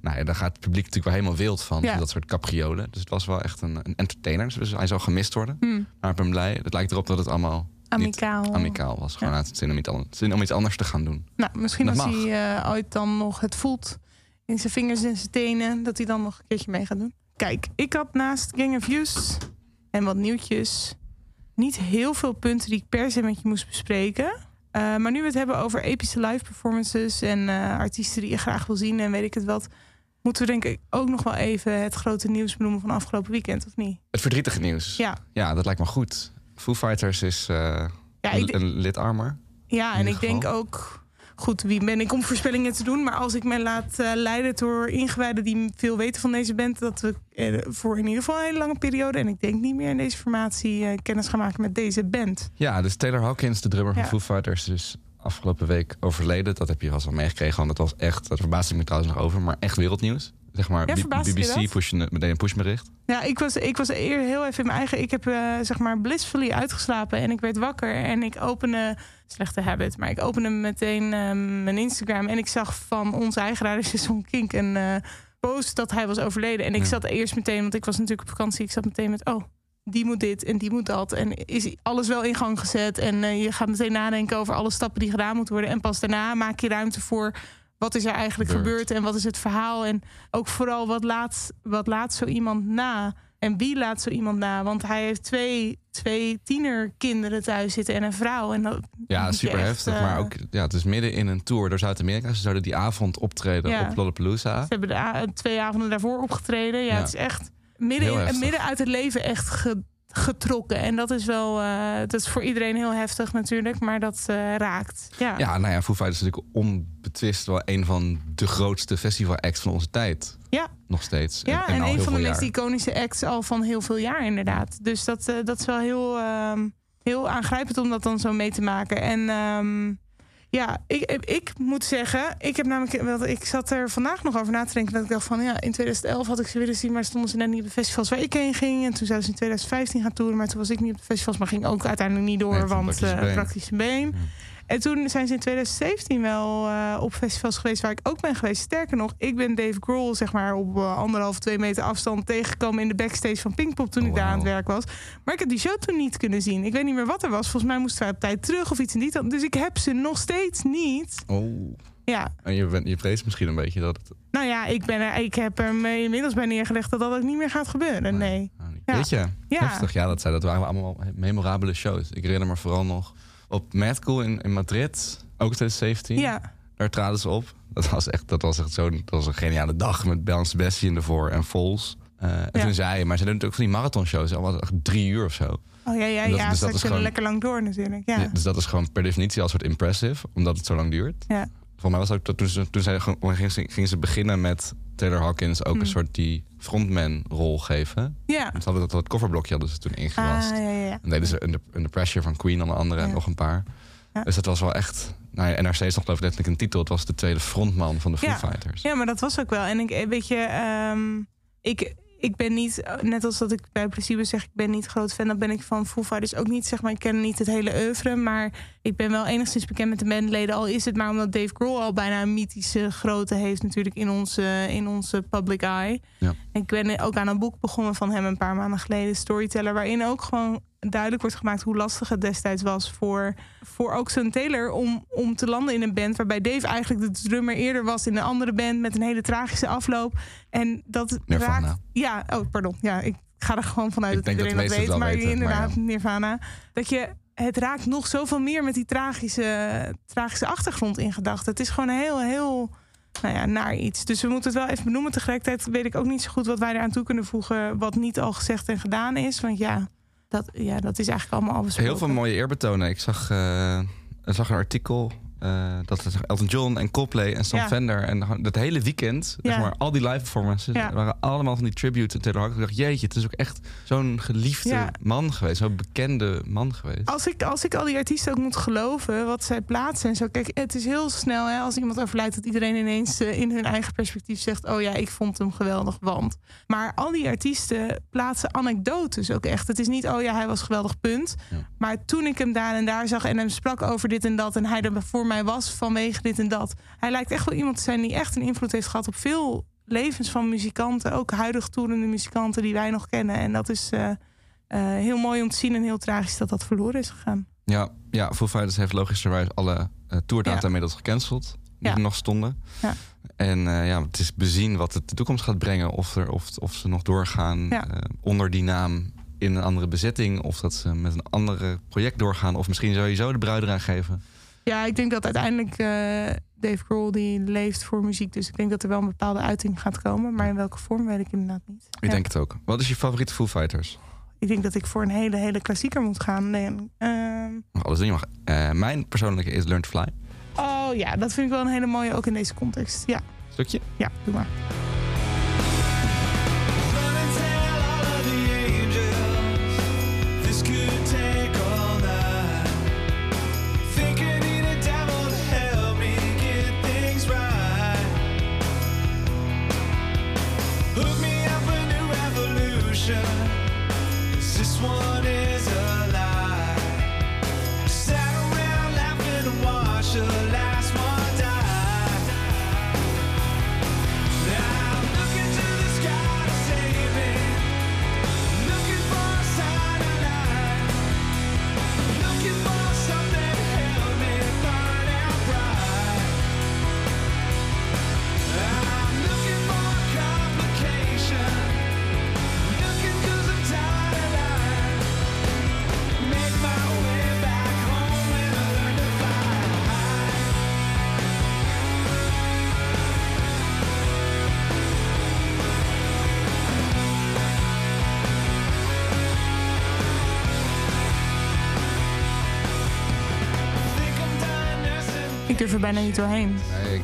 Nou ja, daar gaat het publiek natuurlijk wel helemaal wild van.
Ja.
Dat soort capriolen. Dus het was wel echt een, een entertainer. Dus hij zal gemist worden.
Hmm.
Maar ik ben blij. Het lijkt erop dat het allemaal niet
Amicaal.
amicaal was. Gewoon uit het zin om, iets anders, zin om iets anders te gaan doen.
Nou, misschien
Dat
als
mag.
hij eh, ooit dan nog het voelt in zijn vingers en zijn tenen, dat hij dan nog een keertje mee gaat doen. Kijk, ik had naast Gang of Views en wat nieuwtjes niet heel veel punten die ik per se met je moest bespreken. Eh, maar nu we het hebben over epische live performances en eh, artiesten die je graag wil zien en weet ik het wat, moeten we denk ik ook nog wel even het grote nieuws benoemen van afgelopen weekend, of niet?
Het verdrietige nieuws.
Ja.
Ja, dat lijkt me goed. Foo Fighters is eh,
Ja,
een-
ik,
een lid armer.
Ja,
In
en
ieder
ik denk
geval.
ook. Goed, wie ben ik om voorspellingen te doen? Maar als ik me laat eh, leiden door ingewijden die veel weten van deze band, dat we eh, voor in ieder geval een hele lange periode, en ik denk niet meer in deze formatie, eh, kennis gaan maken met deze band.
Ja, dus Taylor Hawkins, de drummer van
Ja.
Foo Fighters, is afgelopen week overleden. Dat heb je vast al meegekregen, want dat was echt, dat verbaasde ik me trouwens nog over, maar echt wereldnieuws. Dus zeg maar,
Ja,
B-
verbaast je
BBC
dat?
pushen, meteen een pushbericht.
Ja, ik was, ik was eer heel even in mijn eigen. Ik heb eh, zeg maar blissfully uitgeslapen en ik werd wakker en ik opende. Slechte habit, maar ik opende meteen ehm, mijn Instagram en ik zag van onze eigen radiostation Kink een eh, post dat hij was overleden. En ik
Ja.
zat eerst meteen, want ik was natuurlijk op vakantie, ik zat meteen met: oh, die moet dit en die moet dat. En is alles wel in gang gezet en eh, je gaat meteen nadenken over alle stappen die gedaan moeten worden. En pas daarna maak je ruimte voor wat is er eigenlijk
Gebeurd.
gebeurd en wat is het verhaal. En ook vooral wat laat, wat laat zo iemand na? En wie laat zo iemand na? Want hij heeft twee, twee tienerkinderen thuis zitten en een vrouw. En dat,
Ja,
moet je
super
echt,
heftig.
eh,
Maar ook, ja, het is midden in een tour door Zuid-Amerika. Ze zouden die avond optreden
Ja.
op Lollapalooza.
Ze hebben de a- twee avonden daarvoor opgetreden. Ja,
Ja.
het is echt
Heel
midden, in,
heftig.
midden uit het leven echt ge- getrokken. En dat is wel, eh, dat is voor iedereen heel heftig natuurlijk, maar dat eh, raakt. Ja.
Ja, nou ja, Foo Fighters is natuurlijk onbetwist wel een van de grootste festivalacts van onze tijd.
Ja.
Nog steeds.
Ja, en,
al heel
een van de
veel
meest
jaar.
iconische acts al van heel veel jaar inderdaad. Dus dat, eh, dat is wel heel, ehm, heel aangrijpend om dat dan zo mee te maken. En ehm, ja, ik, ik, ik moet zeggen, ik heb namelijk, want ik zat er vandaag nog over na te denken dat ik dacht van ja, in 2011 had ik ze willen zien, maar stonden ze net niet op de festivals waar ik heen ging. En toen zouden ze in 2015 gaan toeren, maar toen was ik niet op de festivals, maar ging ook uiteindelijk niet door,
Nee, van
want
praktische
eh,
been.
praktische been. En toen zijn ze in 2017 wel eh, op festivals geweest waar ik ook ben geweest. Sterker nog, ik ben Dave Grohl zeg maar op eh, anderhalf, twee meter afstand tegengekomen in de backstage van Pinkpop toen ik daar aan het
Oh, Wauw.
werk was. Maar ik heb die show toen niet kunnen zien. Ik weet niet meer wat er was. Volgens mij moesten wij op tijd terug of iets in die trant. Dus ik heb ze nog steeds niet.
Oh.
Ja,
En je, bent, je vreest misschien een beetje dat het...
nou ja, ik, ben er, ik heb er me inmiddels bij neergelegd dat dat ook niet meer gaat gebeuren. Nee.
nou, niet-
Ja.
Weet je?
Ja.
Heftig. Ja, dat, zijn, dat waren allemaal memorabele shows. Ik herinner me vooral nog op Mad Cool in, in Madrid. Ook 2017.
Ja,
Daar traden ze op. Dat was echt, dat was echt zo'n dat was een geniale dag met Bel en Sebastian ervoor en Vols. Eh, en
Ja.
toen zei maar ze doen natuurlijk van die marathonshows. Dat was echt drie uur of zo.
oh ja, ja,
Dat-
ja.
dus
ze
dat is
kunnen
gewoon-
lekker lang door natuurlijk. Ja.
Ja, Dus dat is gewoon per definitie al soort impressive, omdat het zo lang duurt.
Ja.
Volgens mij was het ook dat toen ze, toen zij gewoon, gingen, ze, gingen ze beginnen met Taylor Hawkins
Mm.
ook een soort die frontman-rol geven.
ja.
Want ze hadden dat, dat coverblokje hadden ze toen ingelast.
Ah, ja, ja, ja.
En deden ze Under, Under Pressure van Queen onder andere en
Ja.
nog een paar.
Ja.
Dus dat was wel echt... Nou ja, NRC is nog geloof ik letterlijk een titel. Het was de tweede frontman van de Foo
Ja.
Fighters.
Ja, maar dat was ook wel. En ik, eh, weet je, ehm, ik, ik ben niet, net als dat ik bij principe zeg, ik ben niet groot fan, dat ben ik van Foo Fighters ook niet. Zeg maar, ik ken niet het hele oeuvre, maar ik ben wel enigszins bekend met de bandleden. Al is het maar omdat Dave Grohl al bijna een mythische grootte heeft natuurlijk in onze, in onze public eye.
Ja.
En ik ben ook aan een boek begonnen van hem een paar maanden geleden, Storyteller, waarin ook gewoon duidelijk wordt gemaakt hoe lastig het destijds was voor, voor ook zo'n Taylor om, om te landen in een band waarbij Dave eigenlijk de drummer eerder was in een andere band met een hele tragische afloop. En dat
Nirvana.
raakt... Ja, oh, pardon. Ja, ik ga er gewoon vanuit
Ik
dat
denk dat
iedereen dat,
de meesten
weet,
het wel
maar
weten,
inderdaad,
maar
Nirvana. Dat je... Het raakt nog zoveel meer met die tragische, tragische achtergrond in gedachten. Het is gewoon een heel, heel nou ja, naar iets. Dus we moeten het wel even benoemen. Tegelijkertijd weet ik ook niet zo goed wat wij eraan toe kunnen voegen. wat niet al gezegd en gedaan is. Want ja, dat, ja, dat is eigenlijk allemaal al besproken.
Heel veel mooie eerbetonen. Ik zag, eh, ik zag een artikel eh, dat het Elton John en Coldplay en Sam
Ja.
Fender en gewoon dat hele weekend, zeg
Ja.
maar, al die live performances
Ja.
waren allemaal van die tribute en Taylor Hawkins. Ik dacht, jeetje, het is ook echt zo'n geliefde
Ja.
man geweest, zo'n bekende man geweest.
Als ik, als ik al die artiesten ook moet geloven wat zij plaatsen en zo. Kijk, het is heel snel hè, als iemand overlijdt dat iedereen ineens eh, in hun eigen perspectief zegt... oh ja, ik vond hem geweldig, want... Maar al die artiesten plaatsen anekdotes ook echt. Het is niet, oh ja, hij was geweldig, punt. Maar toen ik hem daar en daar zag en hem sprak over dit en dat... en hij er voor mij was vanwege dit en dat. Hij lijkt echt wel iemand te zijn die echt een invloed heeft gehad op veel levens van muzikanten. Ook huidig toerende muzikanten die wij nog kennen. En dat is... eh, eh, heel mooi om te zien en heel tragisch dat dat verloren is gegaan.
Ja, ja, Foo Fighters heeft logischerwijs alle eh tourdata
Ja.
inmiddels gecanceld. Die
Ja.
er nog stonden.
Ja.
En eh, ja, het is bezien wat het de toekomst gaat brengen. Of, er, of, of ze nog doorgaan
Ja.
eh, onder die naam in een andere bezetting. Of dat ze met een ander project doorgaan. Of misschien sowieso de bruid eraan geven.
Ja, ik denk dat uiteindelijk eh, Dave Grohl die leeft voor muziek. Dus ik denk dat er wel een bepaalde uiting gaat komen. Maar in welke vorm weet ik inderdaad niet.
Ik
Ja.
denk het ook. Wat is je favoriete Foo Fighters?
Ik denk dat ik voor een hele, hele klassieker moet gaan. Nee, ehm,
Mag alles doen. Je mag. Eh, mijn persoonlijke is Learn to Fly.
oh ja, dat vind ik wel een hele mooie ook in deze context. Ja,
Stukje.
ja doe maar.
Help me get things right.
this one is a lie. Sat around laughing and watched the last one die. Now I'm looking to the sky to save me. Looking for a sign of life. Looking for something to help me find out right. I'm looking for a complication. Looking 'cause I'm tired of lying. Make my way back home and I learn to fly high. Think I'm done nursing
Ik durf er bijna niet doorheen.
Nee,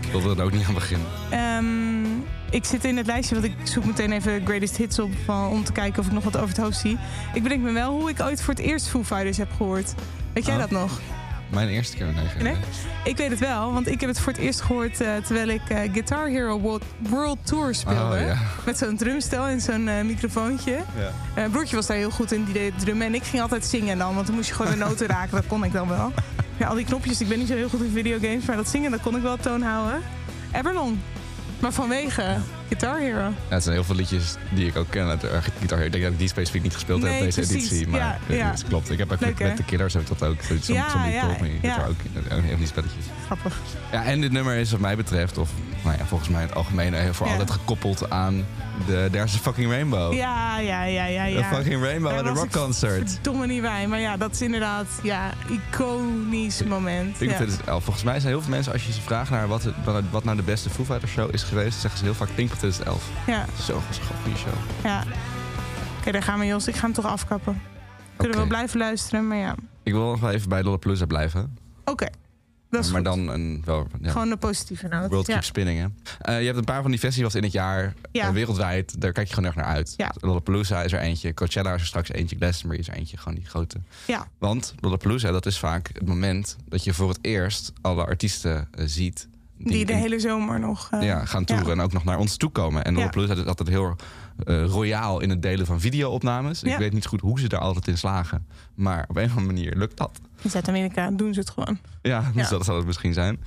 ik wilde er ook niet aan beginnen.
Ehm, ik zit in het lijstje, want ik zoek meteen even greatest hits op van, om te kijken of ik nog wat over het hoofd zie. Ik bedenk me wel hoe ik ooit voor het eerst Foo Fighters heb gehoord. Weet jij
Oh.
dat nog?
Mijn eerste keer. Nee, geen
Nee?
idee.
Ik weet het wel, want ik heb het voor het eerst gehoord eh, terwijl ik eh, Guitar Hero World, World Tour speelde.
Oh, ja.
Met zo'n drumstel en zo'n eh, microfoontje.
Ja.
Eh, broertje was daar heel goed in, die deed drummen. En ik ging altijd zingen dan, want dan moest je gewoon de noten raken. Dat kon ik dan wel. Ja, al die knopjes, ik ben niet zo heel goed in videogames, maar dat zingen, dat kon ik wel op toon houden. Everlong. Maar vanwege Guitar Hero.
Ja, het zijn heel veel liedjes die ik ook ken uit de eh, gitaar. Ik denk dat ik die specifiek niet gespeeld heb
Nee,
op deze
precies.
editie. Maar
Ja,
ik weet
ja.
niet, het klopt. Ik heb ook
Leuk, hè?
met de Killers heb ik dat ook. Zo'n
Ja,
ja, zombie
ja,
talk me.
ja.
Dat ook eh, een van die spelletjes.
Grappig.
Ja, en dit nummer is wat mij betreft, of nou ja, volgens mij in het algemeen, eh, voor
Ja.
altijd gekoppeld aan de There's a Fucking Rainbow.
Ja, ja, ja, ja, ja.
A Fucking Rainbow
Daar
at a
was
Rock
ik
Concert.
Verdomme niet bij, maar ja, dat is inderdaad ja, iconisch moment.
Ik
ja.
vind het, elf. volgens mij zijn heel veel mensen, als je ze vraagt naar wat, het- wat, wat nou de beste Foo Fighters show is geweest, zeggen ze heel vaak Pink 2011.
ja,
Zo goede show.
ja. Oké, daar gaan we Jos. Ik ga hem toch afkappen. We kunnen
Oké.
wel blijven luisteren, maar ja.
Ik wil nog wel even bij Lollapalooza blijven.
Oké, dat is
maar
goed.
dan een, wel, ja,
Gewoon de positieve noot.
World
ja.
Keep Spinning, hè? Eh, je hebt een paar van die festivals in het jaar,
Ja.
eh, wereldwijd. Daar kijk je gewoon erg naar uit.
Ja.
Lollapalooza is er eentje, Coachella is er straks eentje, Glastonbury is er eentje, gewoon die grote.
ja,
Want Lollapalooza, dat is vaak het moment dat je voor het eerst alle artiesten eh, ziet...
die, de
in-
hele zomer nog. eh,
ja, gaan toeren
ja.
en ook nog naar ons toe komen. En
Ja.
Lollapalooza is altijd heel eh, royaal in het delen van videoopnames.
Ja.
Ik weet niet goed hoe ze daar altijd in slagen. Maar op een of andere manier lukt dat.
In Zuid-Amerika doen ze het gewoon.
Ja, dus
Ja.
dat zal het misschien zijn.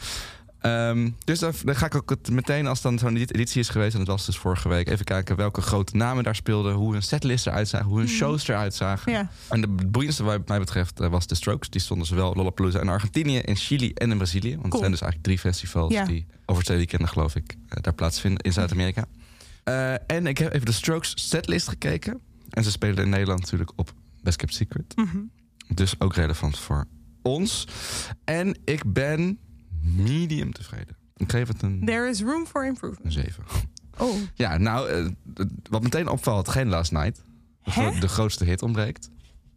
Ehm, dus daar, daar ga ik ook het meteen, als dan zo'n edit- editie is geweest... en dat was dus vorige week, even kijken welke grote namen daar speelden... hoe hun setlist eruit zagen, hoe hun shows eruit zagen.
Mhm. Ja.
En de boeiendste wat mij betreft eh, was The Strokes. Die stonden zowel in Lollapalooza in Argentinië, in Chili en in Brazilië. Want
Cool.
het zijn dus eigenlijk drie festivals
Ja.
die over twee weekenden, geloof ik, eh, daar plaatsvinden in Zuid-Amerika. Eh, en ik heb even de Strokes setlist gekeken. En ze spelen in Nederland natuurlijk op Best Kept Secret.
Mhm.
Dus ook relevant voor ons. En ik ben medium tevreden. Ik geef het een,
There is room for improvement.
een 7.
Oh,
Ja, nou, eh, d- wat meteen opvalt, geen Last Night. Dat
Hè?
De grootste hit ontbreekt.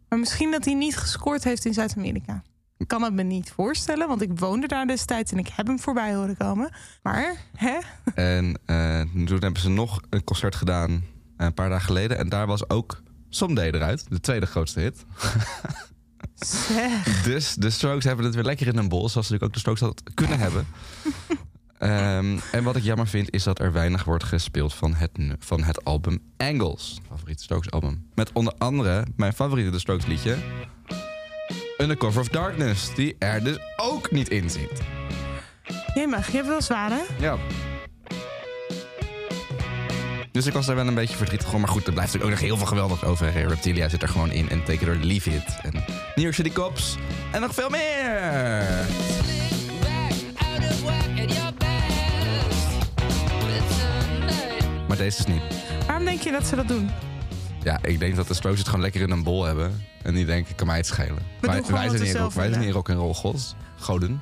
maar misschien dat hij niet gescoord heeft in Zuid-Amerika. Ik kan het me niet voorstellen, want ik woonde daar destijds en ik heb hem voorbij horen komen. Maar, hè?
En eh, toen hebben ze nog een concert gedaan eh, een paar dagen geleden. En daar was ook Someday eruit, de tweede grootste hit.
Zeg.
Dus de Strokes hebben het weer lekker in een bol, zoals ze natuurlijk ook de Strokes had kunnen hebben. Ehm, en wat ik jammer vind, is dat er weinig wordt gespeeld van het, nu- van het album Angles. mijn Favoriete Strokes album. Met onder andere mijn favoriete de Strokes liedje... Undercover of Darkness, die er dus ook niet in zit.
Jij mag, je hebt wel zwaar, hè?
Ja. Dus ik was daar wel een beetje verdrietig om. Maar goed, er blijft natuurlijk ook nog heel veel geweldig over. Reptilia zit er gewoon in. En Take It or Leave It. En New York City Cops. En nog veel meer. Maar deze is niet.
Waarom denk je dat ze dat doen?
Ja, ik denk dat de Strokes het gewoon lekker in een bol hebben. En die denken, kan mij het schelen.
doen gewoon wat
zijn
we
niet
zelf
rock- wij zijn
willen.
niet rock en roll gods. Goden.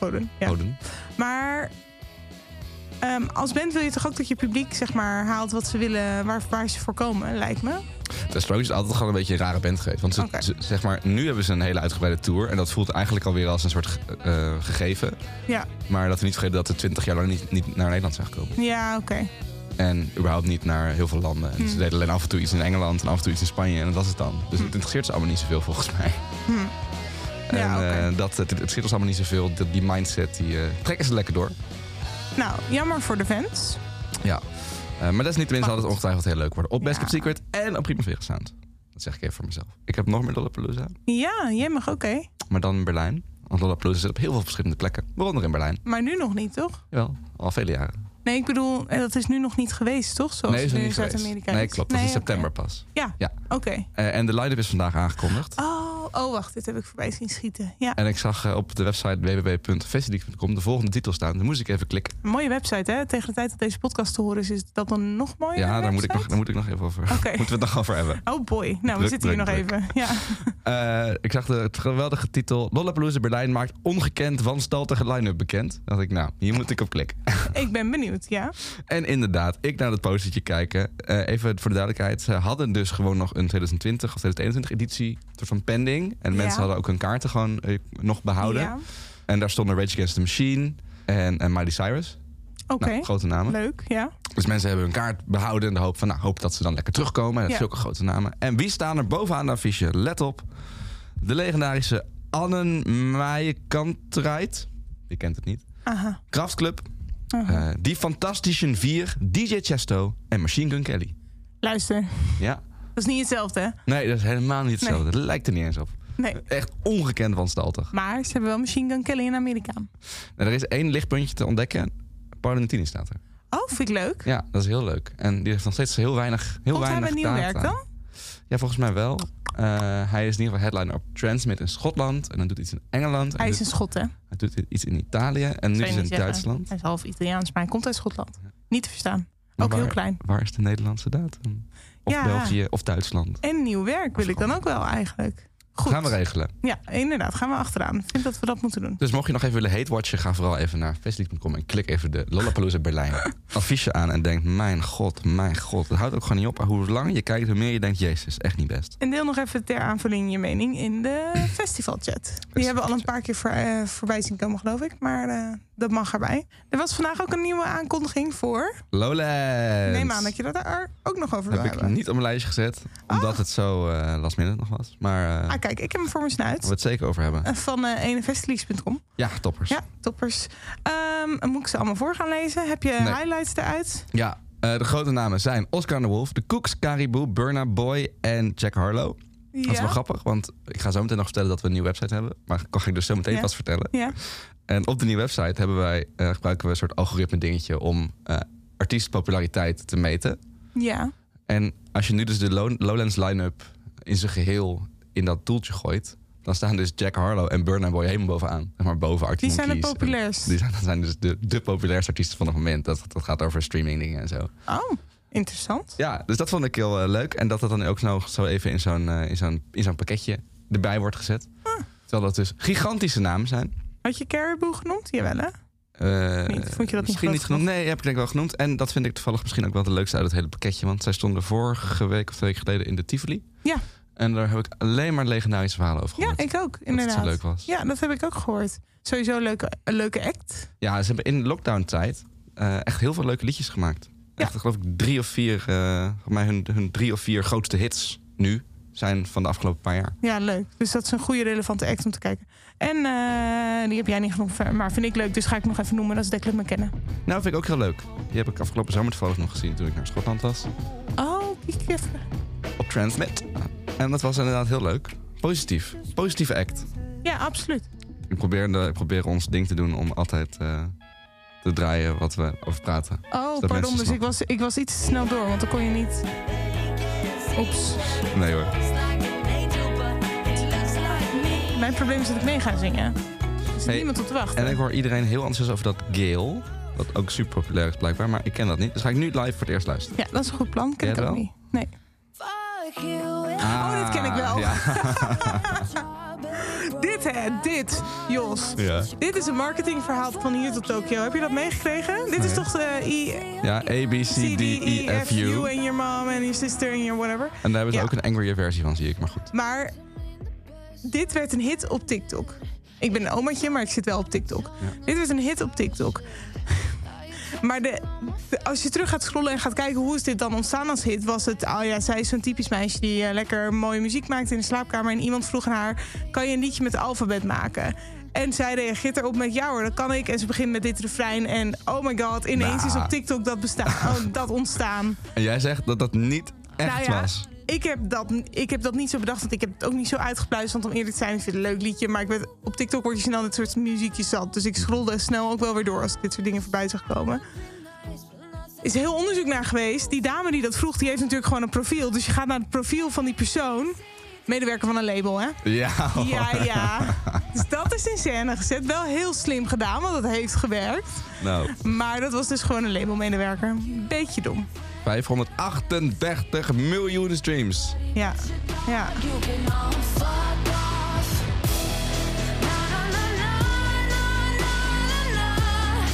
Goden. Ja.
Goden.
Maar ehm, als band wil je toch ook dat je publiek zeg maar, haalt wat ze willen, waar, waar ze voor komen, lijkt me.
De Strokes is altijd gewoon een beetje een rare band geweest. Want ze,
Oké.
ze- zeg maar, nu hebben ze een hele uitgebreide tour. En dat voelt eigenlijk alweer als een soort ge- eh, gegeven.
Ja,
Maar dat we niet vergeten dat ze 20 jaar lang niet, niet naar Nederland zijn gekomen.
ja oké.
En überhaupt niet naar heel veel landen.
Hmm.
En ze deden alleen af en toe iets in Engeland en af en toe iets in Spanje. En dat was het dan. Dus het interesseert ze allemaal niet zoveel volgens mij. En
Hmm. Ja, oké.
eh, dat, het, het interesseert ons allemaal niet zoveel. Dat, die mindset, die eh, trekken ze lekker door.
Nou, jammer voor de fans.
Ja. Eh, maar dat is niet tenminste altijd ongetwijfeld heel leuk worden. Op Best
Ja.
Kept Secret en op Primavera Sound. Dat zeg ik even voor mezelf. Ik heb nog meer Lollapalooza,
Ja, jij mag oké.
maar dan in Berlijn. Want Lollapalooza zit op heel veel verschillende plekken. Waaronder in Berlijn.
Maar nu nog niet, toch?
Jawel, al vele jaren.
Nee, ik bedoel, eh, dat is nu nog niet geweest, toch? Zoals
nee,
het
is
nu
er niet
Oh, in
geweest.
Zuid-Amerika
Nee,
is.
klopt. Dat is
oké.
september pas.
Ja,
Ja.
oké.
Eh, en de line-up is vandaag aangekondigd.
Oh, oh, wacht, dit heb ik voorbij zien schieten. Ja,
En ik zag eh, op de website www.festival.com de volgende titel staan. Dan moest ik even klikken.
een mooie website, hè? Tegen de tijd dat deze podcast te horen is, is dat dan nog mooier?
Ja, daar moet, ik nog,
website?
daar moet ik nog even over. Moeten we het nog over hebben.
Oh boy, nou, we
Druk,
zitten hier
druk,
nog even. Ja.
Eh, ik zag de het geweldige titel Lollapalooza Berlijn maakt ongekend wanstaltige line-up bekend. Dan dacht ik, nou, hier moet ik op klikken.
ik ben benieuwd, ja.
en inderdaad, ik naar dat postertje kijken. Eh, even voor de duidelijkheid, ze hadden dus gewoon nog een 2020 of 2021 editie een soort van pending. En mensen
Ja.
hadden ook hun kaarten gewoon eh, nog behouden.
Ja.
En daar stonden Rage Against the Machine en, en Miley Cyrus.
Oké,
Nou, grote namen.
leuk, ja.
Dus mensen hebben hun kaart behouden in de hoop van, nou, hoop dat ze dan lekker terugkomen. En dat
Ja.
zulke grote namen. En wie staan er bovenaan de affiche? Let op. De legendarische Annen Meijekantreit. Je kent het niet.
Aha.
Kraftclub. Eh, die Fantastische Vier. DJ Chesto. En Machine Gun Kelly.
Luister,
Ja.
dat is niet hetzelfde, hè?
Nee, dat is helemaal niet hetzelfde. Dat lijkt er niet eens op.
Nee.
Echt ongekend wanstaltig.
Maar ze hebben wel Machine Gun Kelly in Amerika.
En er is één lichtpuntje te ontdekken. Paulentini staat er.
Oh, vind ik leuk.
Ja, dat is heel leuk. En die heeft nog steeds heel weinig, heel
Komt hij
weinig
bij nieuw
data.
werk dan?
Ja, volgens mij wel. Eh, hij is in ieder geval headliner op Transmit in Schotland. En dan doet hij iets in Engeland. En
Hij
doet-
is een Schot, hè?
hij doet iets in Italië. En nu
Zou
dus is
je
hij in
niet zeggen.
Duitsland. Nou,
Hij is half Italiaans, maar hij komt uit Schotland. Niet te verstaan.
Maar
ook heel
waar-
klein.
Waar is de Nederlandse datum? Of
Ja.
België of Duitsland.
En nieuw werk wil ik dan ook wel eigenlijk. Goed.
Gaan we regelen.
Ja, inderdaad. Gaan we achteraan. Ik vind dat we dat moeten doen.
Dus mocht je nog even willen hatewatchen, ga vooral even naar festival.com en klik even de Lollapalooza Berlijn affiche aan en denk, mijn god, mijn god. Het houdt ook gewoon niet op. Hoe langer je kijkt, hoe meer je denkt, jezus, echt niet best.
En deel nog even ter aanvulling je mening in de festivalchat. Die hebben we al een paar keer voor, eh, voorbij zien komen, geloof ik. Maar eh, dat mag erbij. Er was vandaag ook een nieuwe aankondiging voor.
Lowlands!
Neem aan dat je dat daar ook nog over wil
Heb ik
hebben.
niet op mijn lijstje gezet, omdat het zo eh last minute nog was. Maar eh
Ah, kijk, ik heb hem voor mijn
we
snuit.
het zeker over hebben.
Eh, Van eh enefestileaks.com.
Ja, toppers.
Ja, toppers. Ehm, moet ik ze allemaal voor gaan lezen? Heb je
Nee.
highlights eruit?
Ja, eh, de grote namen zijn Oscar de Wolf, de Cooks, Caribou, Burna Boy en Jack Harlow. Dat is wel grappig, want ik ga zo meteen nog vertellen dat we een nieuwe website hebben. Maar kan ik dus zo meteen
Ja.
pas vertellen.
Ja.
En op de nieuwe website hebben wij, eh, gebruiken we een soort algoritme dingetje om eh artiestenpopulariteit te meten.
Ja.
En als je nu dus de Lo- Lowlands line-up in zijn geheel in dat toeltje gooit... dan staan dus Jack Harlow en Burna Boy helemaal bovenaan. Zeg maar boven Arctic
Die zijn de
Monkeys. En
populairst.
Die zijn, dat zijn dus de, de populairste artiesten van het moment. Dat, dat gaat over streaming dingen en zo.
Oh, interessant.
Ja, dus dat vond ik heel eh, leuk. En dat dat dan ook nou zo even in zo'n, eh, in, zo'n, in zo'n pakketje erbij wordt gezet.
Ah.
Terwijl dat dus gigantische namen zijn.
Had je Caribou genoemd? Jawel, hè?
Eh,
Niet? Vond je dat niet
misschien
groot
niet genoemd? Nee, heb ik denk ik wel genoemd. En dat vind ik toevallig misschien ook wel de leukste uit het hele pakketje. Want zij stonden vorige week of twee weken geleden in de Tivoli.
Ja.
En daar heb ik alleen maar legendarische verhalen over
Ja,
gehoord.
ik ook,
dat het
inderdaad.
zo leuk was. Ja,
Ja, dat heb ik ook gehoord. Sowieso een leuke, een leuke act.
ze hebben in lockdown-tijd eh, echt heel veel leuke liedjes gemaakt.
Ja.
Echt, geloof ik, drie of vier, eh, volgens mij hun, hun drie of vier grootste hits nu zijn van de afgelopen paar jaar.
Ja, leuk. Dus dat is een goede, relevante act om te kijken. En eh, die heb jij niet genoemd, maar vind ik leuk. Dus ga ik hem nog even noemen. Dat is Declan McKenna.
Nou, vind ik ook heel leuk. Die heb ik afgelopen zomer toevallig nog gezien toen ik naar Schotland was.
Oh, die kiffer.
Op Transmit. En dat was inderdaad heel leuk. Positief. Positieve act.
Ja, absoluut.
We proberen, we proberen ons ding te doen om altijd eh, te draaien wat we over praten.
Oh,
mensen
pardon. Dus
snappen.
ik was, ik was iets te snel door, want dan kon je niet... Oeps.
Nee hoor.
Mijn probleem is dat ik mee ga zingen. Er zit
Hey,
niemand op te wachten.
En ik hoor iedereen heel enthousiast over dat Gale. Dat ook super populair is blijkbaar, maar ik ken dat niet. Dus ga ik nu live voor het eerst luisteren.
Ja, dat is een goed plan. Ken
Jij
ik ook
wel?
niet. Nee.
Ah,
Oh, dit ken ik wel.
Ja.
Dit hè, dit, Jos.
ja.
Dit is een marketingverhaal van hier tot Tokio. Heb je dat meegekregen? Dit is toch de eh, I,
Ja, A, B, C,
C,
D, E, F, U.
en your mom en your sister en your whatever.
En daar hebben ze
Ja.
ook een angrier versie van, zie ik. Maar goed.
Maar dit werd een hit op TikTok. Ik ben een omaatje, maar ik zit wel op TikTok. Dit werd een hit op TikTok. Maar de, de- als je terug gaat scrollen en gaat kijken hoe is dit dan ontstaan als hit, was het, oh ja, zij is zo'n typisch meisje die eh, lekker mooie muziek maakt in de slaapkamer. En iemand vroeg aan haar, kan je een liedje met alfabet maken? En zij reageert erop met, ja hoor, dat kan ik. En ze begint met dit refrein en oh my god, ineens
Nou.
is op TikTok dat, bestaan, oh, dat ontstaan.
En jij zegt dat dat niet echt
Nou ja,
was.
Ik heb, dat, ik heb dat niet zo bedacht, want ik heb het ook niet zo uitgepluist. Want om eerlijk te zijn, ik vind het een leuk liedje. Maar ik werd, op TikTok word je snel dit soort muziekjes zat. Dus ik scrollde snel ook wel weer door als ik dit soort dingen voorbij zag komen. is heel onderzoek naar geweest. Die dame die dat vroeg, die heeft natuurlijk gewoon een profiel. Dus je gaat naar het profiel van die persoon. Medewerker van een label, hè?
Ja, hoor.
Ja, ja. Dus dat is in scène gezet. Wel heel slim gedaan, want dat heeft gewerkt.
Nou,
Maar dat was dus gewoon een labelmedewerker. Beetje dom.
538 miljoen streams.
Ja. ja.
You've been on fuck off. Na na na na na na na na.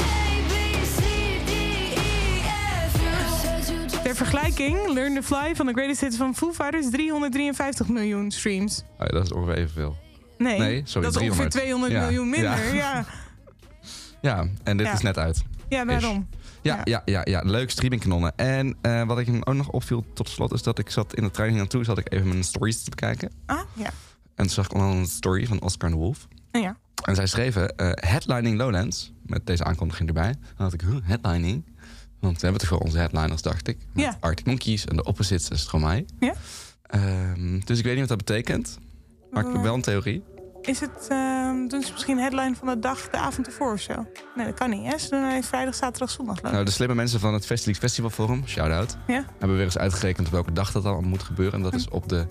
A B C D E F. You said you just
Ter vergelijking, Learn to Fly van de Greatest Hits van Foo Fighters 353 miljoen streams.
Ah, dat is ongeveer evenveel.
Nee,
Nee, sorry,
dat is ongeveer
300.
200
Ja,
miljoen minder. Ja,
ja.
ja.
Ja, en dit
Ja.
is net uit.
daarom.
Ja,
Ja.
ja. ja, ja, leuk streamingkanonnen. En eh, wat ik me ook nog opviel tot slot is dat ik zat in de trein hier naartoe, zat ik even mijn stories te bekijken.
Ah, ja.
En toen zag ik al een story van Oscar en de Wolf.
Nou ja.
En zij schreven eh, headlining Lowlands, met deze aankondiging erbij. Dan had ik, huh, headlining? Want we hebben toch wel onze headliners, dacht ik. Met
Ja.
Arctic Monkeys en de Opposites is het gewoon mij.
Ja.
Ehm, dus ik weet niet wat dat betekent, maar ik heb wel een theorie.
Is het, ehm, doen ze misschien headline van de dag, de avond ervoor of zo? Nee, dat kan niet, hè? Ze doen alleen vrijdag, zaterdag, zondag. geloof ik.
Nou, de slimme mensen van het Festival Festival Forum, shout-out...
Ja.
hebben weer eens uitgerekend op welke dag dat allemaal moet gebeuren. En dat is op de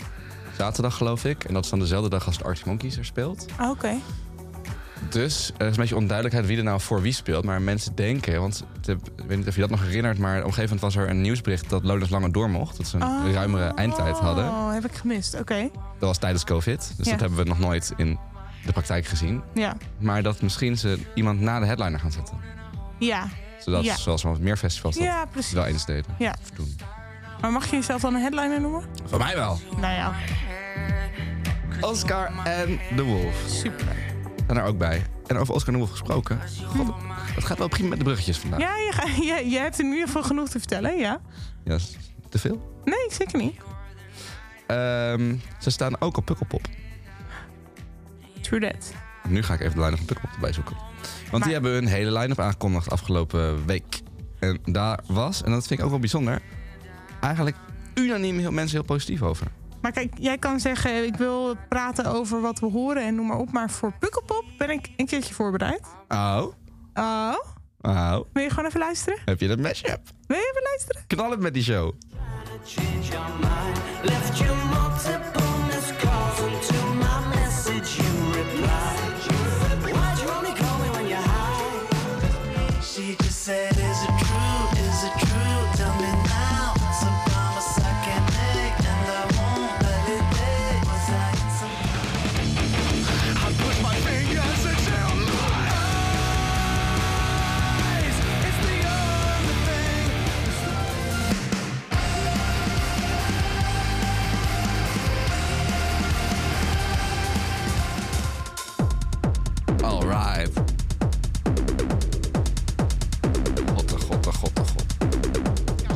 zaterdag, geloof ik. En dat is dan dezelfde dag als de Arctic Monkeys er speelt.
Ah, Oké.
Dus er is een beetje onduidelijkheid wie er nou voor wie speelt. Maar mensen denken, want het heb- ik weet niet of je dat nog herinnert... maar op een gegeven moment was er een nieuwsbericht dat Lowlands langer door mocht. Dat ze een
Oh,
ruimere eindtijd hadden.
Oh, heb ik gemist. Oké.
Dat was tijdens COVID. Dus
Ja.
dat hebben we nog nooit in de praktijk gezien.
Ja.
Maar dat misschien ze iemand na de headliner gaan zetten.
Ja.
Zodat,
Ja.
zoals wat meer festivals dat
Ja, precies.
wel eens deden.
Ja.
Of doen.
Maar mag je jezelf dan een headliner noemen?
Voor mij wel.
Nou ja,
Oscar en de Wolf
super.
zijn er ook bij. En over Oscar en de Wolf gesproken. God, het gaat wel prima met de bruggetjes vandaag.
Ja, je, ga- je, je hebt in ieder geval genoeg te vertellen, ja.
Ja, is te veel.
Nee, zeker niet.
Ehm, ze staan ook op Pukkelpop.
True that.
Nu ga ik even de line-up van Pukkelpop erbij zoeken. Want
Maar-
die hebben hun hele line-up aangekondigd afgelopen week. En daar was, en dat vind ik ook wel bijzonder... eigenlijk unaniem heel, mensen heel positief over.
Maar kijk, jij kan zeggen, ik wil praten over wat we horen en noem maar op. Maar voor Pukkelpop ben ik een keertje voorbereid.
Oh,
Oh,
oh,
wil je gewoon even luisteren?
heb je dat mashup?
Wil je even luisteren?
Knal het met die show.
Change your mind. Left you multiple missed calls, and to my message you replied. Why'd you only call me when you're high? She just said, Is it true? Is it true? Tell me now. So promise I can make, and I won't let it take. Was I some
Alright. Godde, godde, godde, god. Dun, dun.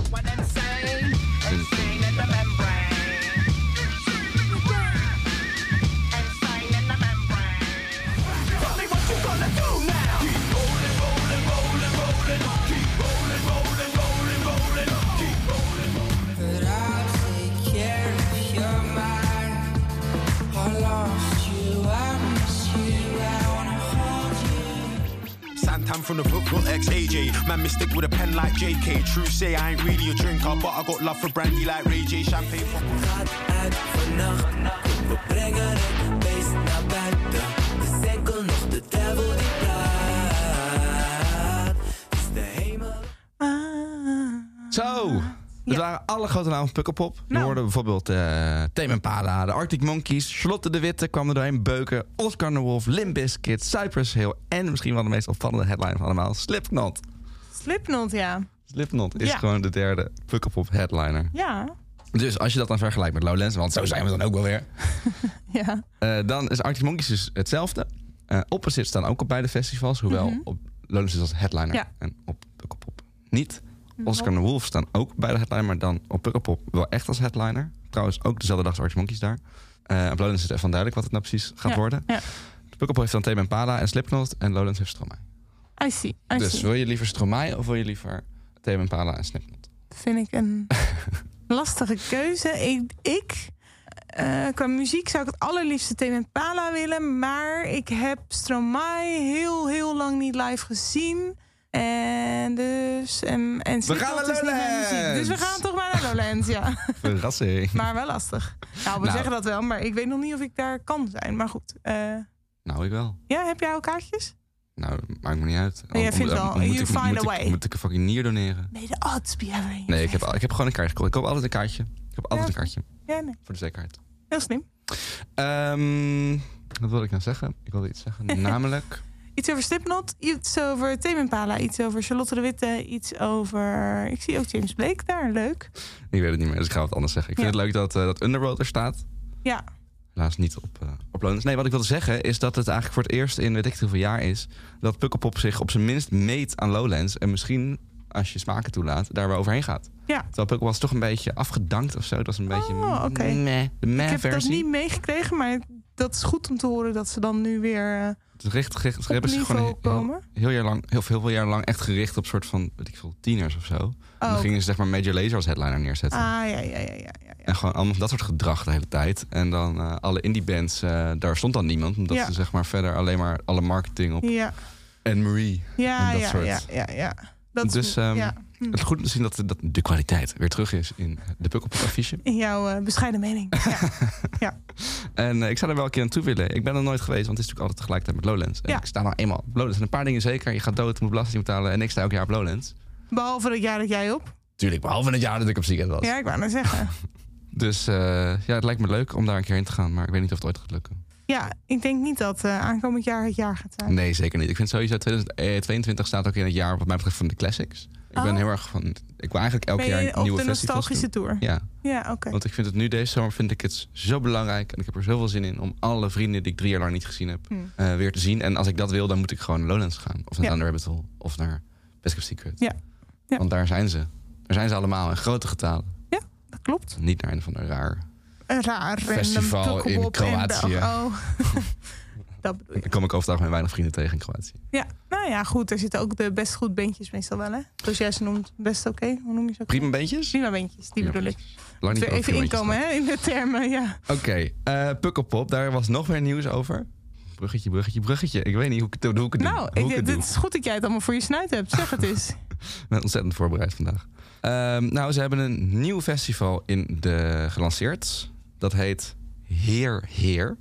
Santan from the book, got ex AJ. Man, mistake with a pen like JK. True say I ain't really a drinker, but I got love for brandy like Ray J. Champagne for.
uit vannacht. We brengen het beest naar buiten. De senkel nog de devil die praat. Is de hemel.
Ah.
Zo, dat waren alle grote namen van Pukkelpop. We
Nou.
hoorden bijvoorbeeld eh Tame Impala, de Arctic Monkeys, Charlotte de Witte kwam er doorheen, Beuken, Oscar de Wolf, Limp Bizkit, Cypress Hill en misschien wel de meest opvallende headline van allemaal, Slipknot.
Slipknot, ja.
Slipknot is
Ja.
gewoon de derde Pukkelpop headliner.
Ja,
Dus als je dat dan vergelijkt met Lowlands, want zo zijn we dan ook wel weer,
ja.
eh, dan is Arctic Monkeys dus hetzelfde. Eh Opposite staan ook op beide festivals, hoewel op Lowlands is als headliner
Mhm. Ja. Mhm.
en op Pukkelpop niet. Oscar en de Wolf staan ook bij de headliner, maar dan op Pukkelpop wel echt als headliner. Trouwens, ook dezelfde dag als Arctic Monkeys daar. Eh op Lowlands is het even duidelijk wat het nou precies gaat
Ja,
worden.
Ja.
Pukkelpop heeft dan Thema en Pala en Slipknot en Lowlands heeft Stromae.
I see, I
Dus
see.
wil je liever Stromae of wil je liever Thema en Pala en Slipknot?
Vind ik een Lastige keuze. Ik, ik eh, qua muziek zou ik het allerliefste Tame Pala willen. Maar ik heb Stromae heel, heel lang niet live gezien. En dus... En, en zit
gaan
dat
naar
dus niet bij muziek.
Lowlands.
Dus we gaan toch maar naar Lowlands, ja.
Verrassing.
Maar wel lastig. Nou, we
Nou.
zeggen dat wel, maar ik weet nog niet of ik daar kan zijn. Maar goed. eh,
Nou, ik wel.
ja, heb jij al kaartjes?
Nou, maakt me niet uit.
Maar jij vindt wel, you
ik,
find
moet
a
ik-
way.
moet ik een fucking nier doneren?
Nee, de odds be ever in your
Nee, ik heb,
favor.
al- ik heb gewoon een kaart gekocht. Ik koop altijd een kaartje. Ik heb altijd
Ja.
een kaartje.
Ja, nee.
Voor de zekerheid.
Heel slim.
Ehm, wat wilde ik nou zeggen? Ik wilde iets zeggen. Namelijk...
Iets over Slipknot, iets over Tame Impala, iets over Charlotte de Witte, iets over... Ik zie ook James Blake daar, leuk.
Ik weet het niet meer, dus ik ga wat anders zeggen. Ik vind
Ja.
het leuk dat, eh, dat Underworld er staat.
Ja,
Helaas niet op, eh op Lowlands. Nee, wat ik wilde zeggen is dat het eigenlijk voor het eerst in weet ik het hoeveel jaar is... dat Pukkelpop zich op zijn minst meet aan Lowlands. En misschien, als je smaken toelaat, daar wel overheen gaat.
ja.
Terwijl Pukkelpop was toch een beetje afgedankt of zo. Dat was een beetje
Oh, oké.
meh, de
Ik heb dat
meh-versie.
niet meegekregen, maar dat is goed om te horen dat ze dan nu weer... eh,
Het richt, richt, ze
Op
hebben zich gewoon
niveau
heel-
komen?
heel, jaar lang, heel, heel veel jaar lang echt gericht op soort van, weet ik veel, tieners of zo. En dan
oké.
gingen ze zeg maar Major Lazer als headliner neerzetten.
ah, ja, ja, ja, ja, ja. ja.
En gewoon allemaal dat soort gedrag de hele tijd. En dan eh, alle indie bands, eh, daar stond dan niemand. Omdat
Ja.
ze zeg maar verder alleen maar alle marketing op
Ja,
Anne-Marie.
ja,
En dat
ja,
soort.
ja, ja, ja. Dat
Dus
is,
ehm,
ja.
het is goed om te zien dat, dat de kwaliteit weer terug is in eh, de Pukkelpop-affiche.
In jouw eh, bescheiden mening. Ja.
En eh, ik zou er wel een keer naartoe willen. Ik ben er nooit geweest, want het is natuurlijk altijd tegelijkertijd met Lowlands. En
Ja.
ik sta nou eenmaal op Lowlands. En een paar dingen zeker. Je gaat dood, je moet belasting betalen. En ik sta elk jaar op Lowlands.
Behalve het jaar dat jij op.
Tuurlijk, behalve het jaar dat ik op ziekenhuis was.
Ja, ik wou net zeggen.
Dus eh, ja, het lijkt me leuk om daar een keer heen te gaan. Maar ik weet niet of het ooit gaat lukken.
Ja, ik denk niet dat eh, aankomend jaar het jaar gaat zijn.
Nee, zeker niet. Ik vind sowieso 2022 staat ook in het jaar wat mij betreft van de classics. Ik ben
Oh.
heel erg van... Ik wil eigenlijk elk
Ben
jaar
je
een
op
nieuwe
de
festivals
nostalgische
doen.
tour?
Ja,
Ja, oké.
want ik vind het nu deze zomer vind ik het zo belangrijk. En ik heb er zoveel zin in om alle vrienden die ik drie jaar lang niet gezien heb
Hmm.
eh, weer te zien. En als ik dat wil, dan moet ik gewoon naar Lowlands gaan. Of naar
Ja.
Under Rabbit Hole. Of naar Best Kept Secret.
Ja. Ja.
Want daar zijn ze. Daar zijn ze allemaal in grote getalen.
Dat klopt.
Niet naar een van de raar.
Een raar random
Festival
tokkelbop
in
en
Kroatië.
Belg- Oh. dat bedoel je.
Dan kom ik overdag met weinig vrienden tegen in Kroatië.
Ja, nou ja, goed. Er zitten ook de best goed bandjes meestal wel, hè? Dus jij ze noemt best oké. Hoe noem je ze ook?
Prima beentjes?
Prima bandjes, die
Prima
bedoel ik.
bandjes. Lang
Weer
over
even
primaatjes
inkomen,
gehad.
hè? In de termen, ja.
Oké, eh Pukkelpop, daar was nog meer nieuws over. Bruggetje, bruggetje, bruggetje. Ik weet niet hoe ik het, hoe ik het doe.
Nou,
Hoe
ik,
ik het
dit
doe.
is goed dat jij het allemaal voor je snuit hebt. Zeg het eens.
Ik ben ontzettend voorbereid vandaag. Ehm, nou, ze hebben een nieuw festival in de, gelanceerd. Dat heet Heer Heer.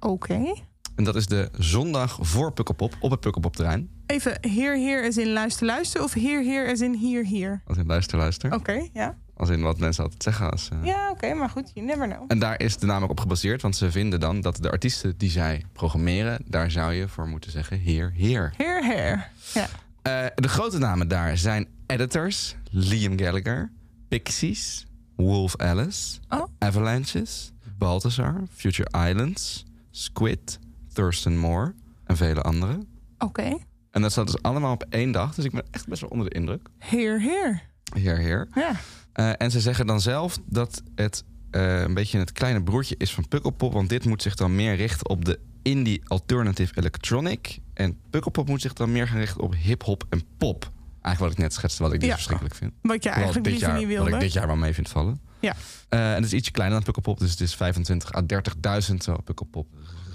Oké.
En dat is de zondag voor Pukkelpop op het Pukkelpopterrein.
Even heer, heer is in luister, luister. Of heer, heer is in hier, hier.
Als in luister, luister.
Oké, ja.
Als in wat mensen altijd zeggen. Als, eh.
Oh. Ja, oké, maar goed. You never know.
En daar is de namelijk op gebaseerd. Want ze vinden dan dat de artiesten die zij programmeren... daar zou je voor moeten zeggen Heer Heer.
Heer, heer. Ja.
Eh, de grote namen daar zijn editors, Liam Gallagher, Pixies, Wolf Alice,
Oh.
Avalanches, Balthazar, Future Islands, Squid, Thurston Moore en vele anderen.
Oké.
En dat staat dus allemaal op één dag, dus ik ben echt best wel onder de indruk.
Heer, heer.
Heer, heer.
Ja.
Eh, en ze zeggen dan zelf dat het eh, een beetje het kleine broertje is van Pukkelpop. Want dit moet zich dan meer richten op de indie alternative electronic. En Pukkelpop moet zich dan meer gaan richten op hip-hop en pop. Eigenlijk wat ik net schetste, wat ik dus
Ja.
verschrikkelijk vind.
Wat je
Wel,
eigenlijk
dit
liever
jaar,
niet
Wat ik
wilde.
dit jaar wel mee vind vallen.
Ja.
Eh, en het is ietsje kleiner dan Pukkelpop. Dus het is 25 à 30.000. Terwijl Pukkelpop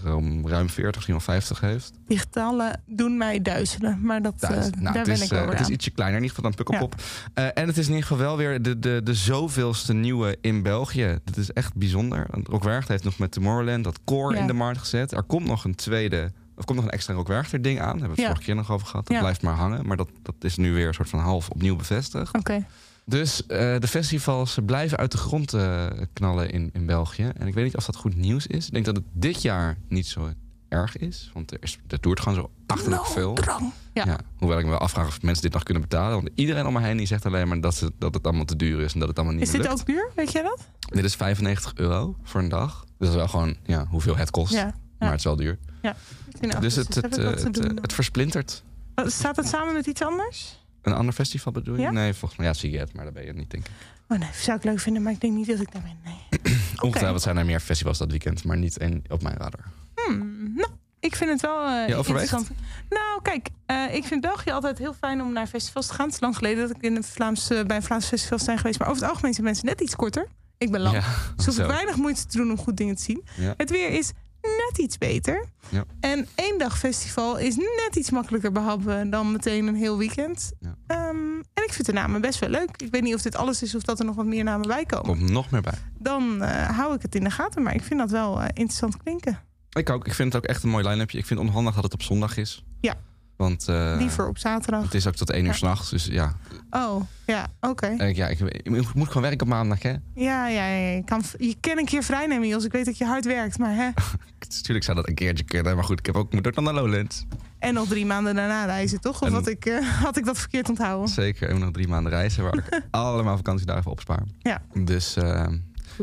ruim, ruim 40, misschien wel 50 heeft.
Die getallen doen mij duizelen, maar dat, eh,
Duizend. Nou,
daar
het
ben
is,
ik
eh,
over
Het is
aan.
ietsje kleiner in ieder geval dan Pukkelpop. Eh, en het is in ieder geval wel weer de, de, de zoveelste nieuwe in België. Dat is echt bijzonder. Want Rock Werchter heeft nog met Tomorrowland dat core
Ja.
in de markt gezet. Er komt nog een tweede... Er komt nog een extra Rock Werchter ding aan. Daar hebben we het
Ja.
vorige keer nog over gehad. Dat
Ja.
blijft maar hangen. Maar dat, dat is nu weer een soort van half opnieuw bevestigd.
Oké,
Dus eh, de festivals blijven uit de grond eh, knallen in, in België. En ik weet niet of dat goed nieuws is. Ik denk dat het dit jaar niet zo erg is. Want er, is, er toert gewoon zo achterlijk veel.
Ja.
hoewel ik me wel afvraag of mensen dit nog kunnen betalen. Want iedereen om me heen die zegt alleen maar dat, ze, dat het allemaal te duur is. En dat het allemaal niet
is
meer
dit
lukt.
ook duur? Weet jij dat?
Dit is 95 euro voor een dag. Dus dat is wel gewoon ja, hoeveel het kost.
Ja.
Maar het is wel duur.
in
dus het,
augustus
het,
heb ik wat
eh,
te
het,
doen
eh,
dan.
het versplintert.
Wat, Staat dat samen met iets anders?
Een ander festival bedoel je?
Ja?
Nee, volgens mij ja, zie je het, maar daar ben je niet, denk ik.
Oh nee, zou ik leuk vinden, maar ik denk niet dat ik daar ben. Nee.
Ongetwijfeld zijn er meer festivals dat weekend, maar niet één op mijn radar.
Hmm, nou, ik Ik vind het wel eh,
overweegt?
interessant. Nou, kijk, eh, ik vind België altijd heel fijn om naar festivals te gaan. Het is lang geleden dat ik in een Vlaams, eh, bij een Vlaams festival zijn geweest. Maar over het algemeen zijn mensen net iets korter. Ik ben lang.
Ja,
Ze hoeven
zo.
weinig moeite te doen om goed dingen te zien.
Ja.
Het weer is net iets beter.
Ja.
En één dag festival is net iets makkelijker behappen dan meteen een heel weekend.
Ja.
Ehm, en ik vind de namen best wel leuk. Ik weet niet of dit alles is of dat er nog wat meer namen bij komen.
Komt nog meer bij.
Dan eh, hou ik het in de gaten. Maar ik vind dat wel eh, interessant klinken.
Ik ook. Ik vind het ook echt een mooi line-upje. Ik vind het onhandig dat het op zondag is.
Ja.
Want eh,
Liever op zaterdag.
het is ook tot één uur
Ja.
s'nachts. Dus ja,
Oh, ja, oké.
ik, ja ik, ik moet- ik moet gewoon werken op maandag. Hè?
Ja, ja, ja. Je kan, je kan een keer vrij nemen, Jos. Ik weet dat je hard werkt, maar hè.
Natuurlijk zou dat een keertje kunnen. Maar goed, ik heb ook, ik moet ook dan naar Lowlands.
En nog drie maanden daarna reizen, toch? Of
En-
had, ik, eh, had ik dat verkeerd onthouden?
Zeker. En nog drie maanden reizen waar ik allemaal vakantiedagen voor opspaar.
Ja.
Dus eh,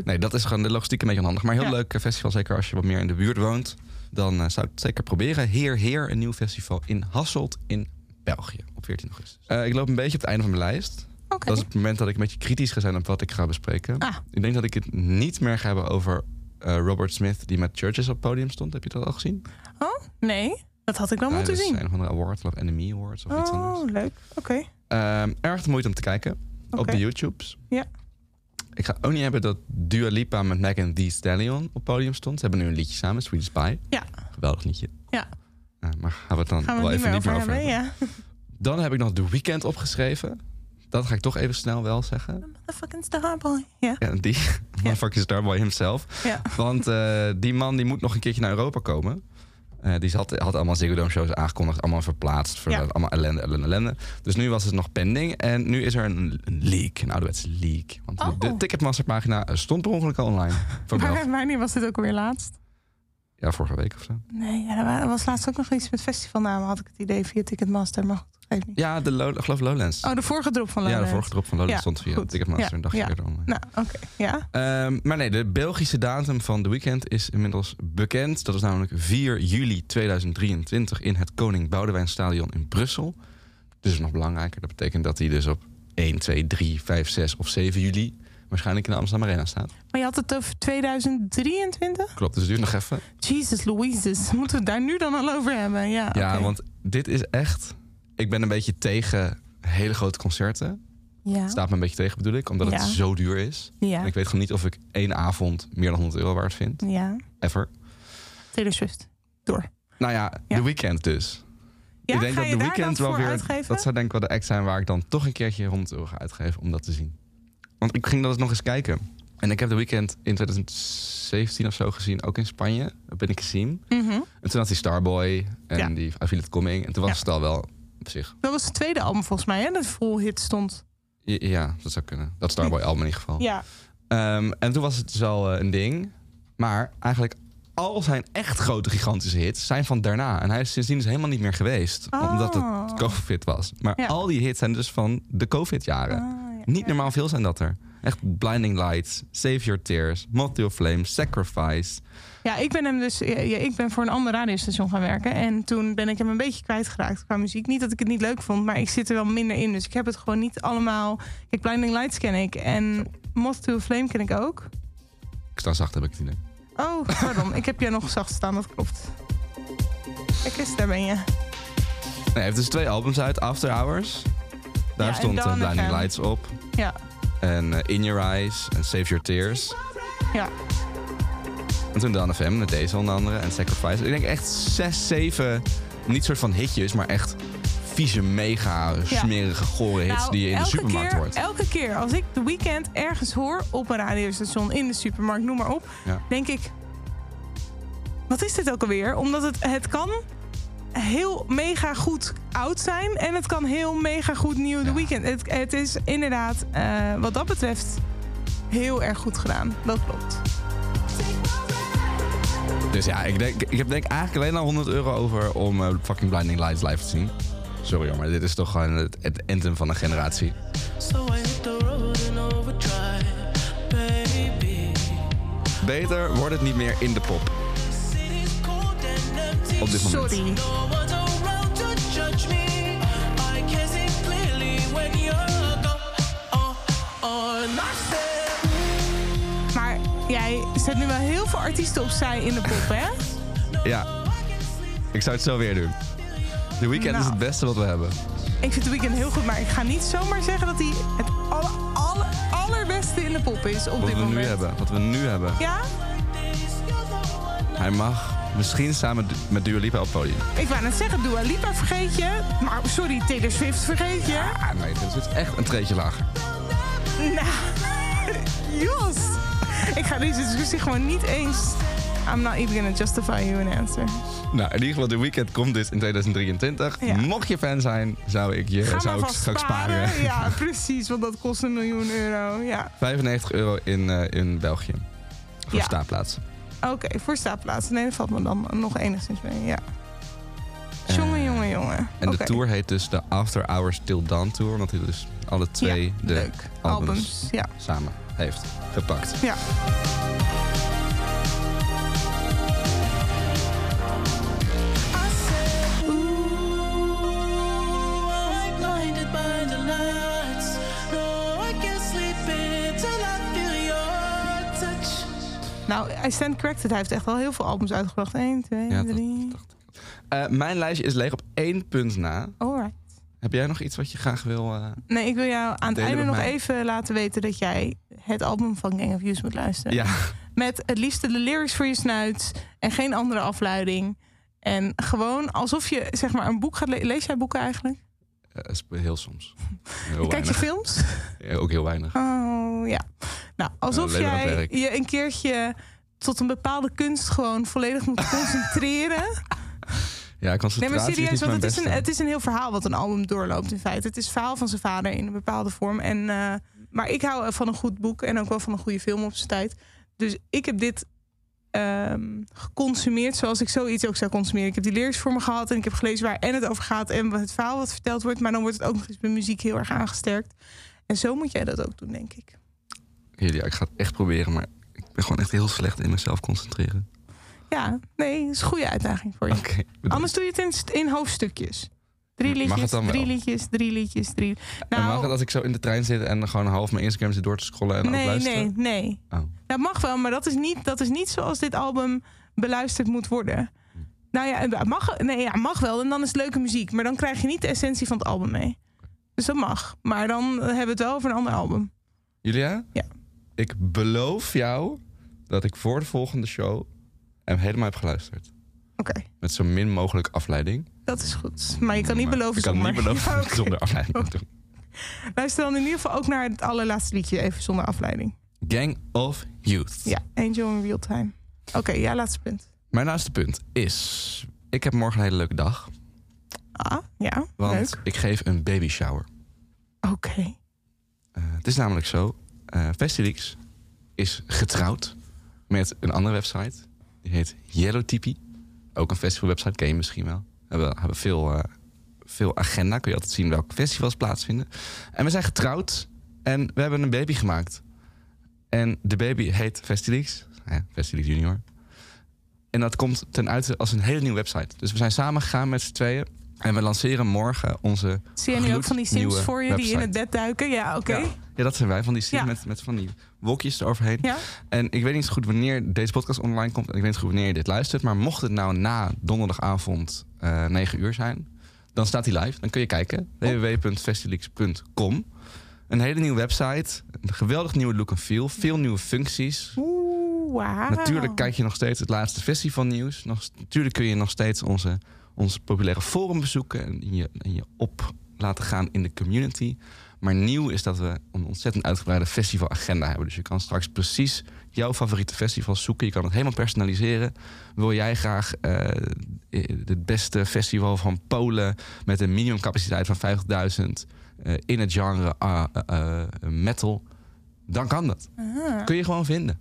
nee, dat is gewoon de logistiek een beetje onhandig. Maar heel
Ja.
leuk eh, festival. Zeker als je wat meer in de buurt woont. Dan eh, zou ik het zeker proberen. Heer Heer, een nieuw festival in Hasselt in België op 14 augustus. Eh, ik loop een beetje op het einde van mijn lijst.
Oké.
Dat is het moment dat ik een beetje kritisch ga zijn op wat ik ga bespreken.
Ah.
Ik denk dat ik het niet meer ga hebben over eh, Robert Smith, die met Churches op het podium stond. Heb je dat al gezien?
Oh, nee. Dat had ik wel
Ja, dus, eh, dat
moeten
is
zien.
Een of andere award, geloof ik, Enemy Awards of iets
Oh,
anders.
leuk. Oké.
Ehm, erg de moeite om te kijken op
Oké.
de YouTubes.
Ja.
Ik ga ook niet hebben dat Dua Lipa met Megan Thee Stallion op het podium stond. Ze hebben nu een liedje samen, Sweet Spy.
Ja.
Geweldig liedje.
Ja.
Eh, maar gaan we het dan
Gaan we
wel
het niet
even
meer
niet
over
meer over
hebben.
hebben.
Ja.
Dan heb ik nog The Weeknd opgeschreven. Dat ga ik toch even snel wel zeggen.
Motherfucking Starboy. Ja.
Ja, die. Motherfucking Starboy himself.
Ja.
Want eh, die man die moet nog een keertje naar Europa komen. Eh, die had, had allemaal Ziggo Dome shows aangekondigd, allemaal verplaatst. Voor
Ja.
Allemaal ellende, ellende, ellende. Dus nu was het nog pending. En nu is er een, een leak, een ouderwetse leak. Want
Oh.
de, de Ticketmaster pagina stond per ongeluk al online. Vanaf,
Maar wanneer was dit ook weer laatst?
ja, vorige week of zo.
Nee, ja, er wa- er was laatst ook nog iets met festivalnamen, had ik het idee, via Ticketmaster. Maar goed, geeft niet.
Ja, de Lo- ik geloof Lowlands.
Oh, de vorige drop van
ja,
Lowlands.
de vorige drop van Lowlands
Ja,
stond via
goed.
Ticketmaster
Ja,
een dagje
ja.
eerder online.
Nou, oké. Ja.
Ehm, maar nee, de Belgische datum van de weekend is inmiddels bekend. Dat is namelijk 4 juli 2023 in het Koning Boudewijnstadion in Brussel. Dus nog belangrijker, dat betekent dat hij dus op 1, 2, 3, 5, 6 of 7 juli waarschijnlijk in de Amsterdam Arena staat.
Maar je had het over 2023?
Klopt, dus het duurt nog even.
Jesus Louises, moeten we het daar nu dan al over hebben? Ja,
Ja,
Ah, oké.
want dit is echt... Ik ben een beetje tegen hele grote concerten.
Ja.
Het staat me een beetje tegen bedoel ik, omdat
Ja.
het zo duur is.
Ja.
En ik weet gewoon niet of ik één avond meer dan 100 euro waard vind.
ja.
Ever.
Taylor Swift. Door.
Nou ja,
Ja.
de weekend dus.
Ja,
ik denk
ga
dat
je
de
daar
weekend
dan
wel
voor
weer.
uitgeven?
Dat zou denk ik wel de act zijn waar ik dan toch een keertje 100 euro ga uitgeven om dat te zien. Want ik ging dat eens nog eens kijken. En ik heb de weekend in 2017 of zo gezien, ook in Spanje. Daar ben ik gezien.
Mhm.
En toen had hij Starboy en
Ja.
die I Feel It Coming. En toen was
Ja.
het al wel op zich.
Dat was het tweede album volgens mij, hè? Dat full hit stond.
Ja, ja, dat zou kunnen. Dat Starboy album in ieder geval.
Ja.
Ehm, en toen was het dus al eh, een ding. Maar eigenlijk al zijn echt grote gigantische hits zijn van daarna. En hij is sindsdien dus helemaal niet meer geweest.
Oh.
Omdat het COVID was. Maar
Ja.
al die hits zijn dus van de COVID jaren.
Ah, ja.
niet normaal veel zijn dat er. Echt Blinding Lights, Save Your Tears, Moth to Your Flames, Sacrifice.
Ja, ik ben hem dus. Ja, ja, ik ben voor een ander radiostation gaan werken. En toen ben ik hem een beetje kwijtgeraakt qua muziek. Niet dat ik het niet leuk vond, maar ik zit er wel minder in. Dus ik heb het gewoon niet allemaal. Kijk, Blinding Lights ken ik. En Moth to a Flame ken ik ook.
Ik sta zacht, heb ik het idee.
Oh, pardon. ik heb je nog zacht staan, dat klopt. Kijk eens, daar ben je.
Nee, hij heeft dus twee albums uit, After Hours. Daar
Ja, en
stond eh,
Dawn
Blinding
FM.
Lights op.
Ja,
En eh, In Your Eyes en Save Your Tears.
ja.
En toen Dan FM met deze onder andere en Sacrifice. Ik denk echt zes, zeven, niet soort van hitjes, maar echt vieze, mega, smerige, gore hits
Nou,
die je in de
elke
supermarkt
keer,
hoort.
Elke keer als ik de weekend ergens hoor op een radiostation, in de supermarkt, noem maar op,
Ja.
denk ik. Wat is dit ook alweer? Omdat het, het kan heel mega goed oud zijn en het kan heel mega goed nieuw de
Ja.
weekend. Het, het is inderdaad, eh, wat dat betreft, heel erg goed gedaan. Dat klopt.
Dus ja, ik, denk, ik heb denk eigenlijk alleen al 100 euro over om eh, fucking Blinding Lights live te zien. Sorry hoor, maar dit is toch gewoon het, het anthem van een generatie.
So I hit the road and overdrive, baby.
Beter wordt het niet meer in de pop
City's cold and empty.
op dit moment.
Sorry.
No one's around to judge me. I can see clearly when you're gone. Oh, oh, and I said,
Maar jij zet nu wel heel veel artiesten opzij in de pop, hè?
Ja, Ik zou het zo weer doen. De weekend is
Nou.
het beste wat we hebben.
Ik vind The Weeknd heel goed, maar ik ga niet zomaar zeggen dat hij het alle, alle, allerbeste in de pop is op
Wat
dit
we
moment.
nu hebben. Wat we nu hebben.
Ja?
Hij mag misschien samen du- met Dua Lipa op het podium.
Ik wou net zeggen, Dua Lipa vergeet je. Maar sorry, Taylor Swift vergeet je.
Ah nee, dit is echt een treetje lager.
Nou, Jos. Ik ga deze discussie gewoon niet eens... I'm not even gonna justify you an answer.
Nou, in ieder geval, de weekend komt dus in 2023.
Ja.
Mocht je fan zijn, zou ik je
Ga
zou
maar
ik
vast
straks
sparen.
sparen.
Ja, precies, want dat kost een miljoen euro. Ja.
95 euro in, eh, in België. Voor
Ja.
staanplaats.
Oké, voor staanplaats. Nee, dat valt me dan nog enigszins mee. Ja. Jongen, jongen, jongen.
Eh. En
Oké.
de tour heet dus de After Hours Till Dawn Tour. Omdat hij dus alle twee
Ja,
de
leuk.
albums,
Albums, ja.
samen heeft gepakt.
Ja. Nou, I stand corrected. Hij heeft echt al heel veel albums uitgebracht. 1, 2,
Ja, dat
3.
Eh, mijn lijstje is leeg op één punt na.
Oh, Alright.
Heb jij nog iets wat je graag wil... eh,
Nee, ik wil jou aan het
Delen
einde
met
nog
mij.
even laten weten dat jij het album van Gang of Youth moet luisteren.
ja.
Met het liefste de lyrics voor je snuit en geen andere afleiding. En gewoon alsof je zeg maar een boek gaat lezen. Lees jij boeken eigenlijk?
Eh, sp- heel soms. Heel
Kijk je
weinig.
films?
Ja, ook heel weinig.
Oh ja. Nou, alsof
alleen maar aan het
jij
Eh, werk.
je een keertje tot een bepaalde kunst gewoon volledig moet concentreren.
Ja,
Nee, maar
concentratie is
serieus,
niet
want
mijn
het is,
beste.
een, het is een heel verhaal wat een album doorloopt in feite. Het is verhaal van zijn vader in een bepaalde vorm. En, eh, maar ik hou eh, van een goed boek en ook wel van een goede film op zijn tijd. Dus ik heb dit ehm, geconsumeerd zoals ik zoiets ook zou consumeren. Ik heb die lyrics voor me gehad en ik heb gelezen waar en het over gaat en wat het verhaal wat verteld wordt. Maar dan wordt het ook nog eens met muziek heel erg aangesterkt. En zo moet jij dat ook doen, denk ik.
Julia, ik ga het echt proberen, maar ik ben gewoon echt heel slecht in mezelf concentreren.
Ja, nee, dat is een goede uitdaging voor je.
Oké, bedankt.
Anders doe je het in, st- in hoofdstukjes. Drie
Mag het
liedjes,
dan wel?
drie liedjes, drie liedjes, drie.
En mag
Nou,
het als ik zo in de trein zit en gewoon half mijn Instagram zit door te scrollen en aan het
nee,
luisteren?
nee, nee.
Oh.
Dat mag wel, maar dat is, niet, dat is niet zoals dit album beluisterd moet worden. Nou ja, het mag, nee, ja, mag wel. En dan is het leuke muziek. Maar dan krijg je niet de essentie van het album mee. Dus dat mag. Maar dan hebben we het wel over een ander album.
Julia?
Ja.
Ik beloof jou dat ik voor de volgende show hem helemaal heb geluisterd.
Oké,
Met zo min mogelijk afleiding.
dat is goed. Maar je kan niet
Maar
beloven
Ik kan
zonder.
niet beloven
Ja,
dat ik
oké. Oh.
zonder afleiding moet doen.
Luister dan in ieder geval ook naar het allerlaatste liedje. Even zonder afleiding.
Gang of Youth.
Ja, Angel in Real Time. Oké, ja, laatste punt.
Mijn laatste punt is... Ik heb morgen een hele leuke dag.
Ah, ja,
Want
leuk.
ik geef een baby shower.
Oké.
Eh, het is namelijk zo. eh Festilix is getrouwd met een andere website. Die heet Yellow Tipi. Ook een festivalwebsite, ken je misschien wel. Hebben, hebben veel, eh, veel agenda. Kun je altijd zien welke festivals plaatsvinden. En we zijn getrouwd. En we hebben een baby gemaakt. En de baby heet Festilix. Ja, Festilix junior. En dat komt ten uite als een hele nieuwe website. Dus we zijn samen gegaan met z'n tweeën. En we lanceren morgen onze
Zie je nu ook van die sims
gloednieuwe
voor je die in
website.
het bed duiken? Ja, oké.
Ja. Ja, dat zijn wij van die sim
Ja.
met, met van die wokjes eroverheen.
Ja.
En ik weet niet zo goed wanneer deze podcast online komt. En ik weet niet goed wanneer je dit luistert. Maar mocht het nou na donderdagavond eh 9 uur zijn, dan staat die live. Dan kun je kijken. www.festilix.com. Een hele nieuwe website. Een geweldig nieuwe look en feel. Veel nieuwe functies.
Oeh, wauw.
Natuurlijk kijk je nog steeds het laatste festivalnieuws. Nog, natuurlijk kun je nog steeds onze, ons populaire forum bezoeken en in je, in je op laten gaan in de community. Maar nieuw is dat we een ontzettend uitgebreide festivalagenda hebben. Dus je kan straks precies jouw favoriete festivals zoeken. Je kan het helemaal personaliseren. Wil jij graag eh, het beste festival van Polen met een minimumcapaciteit van 50.000 eh, in het genre ah, eh, eh, metal? Dan kan dat. Kun je gewoon vinden.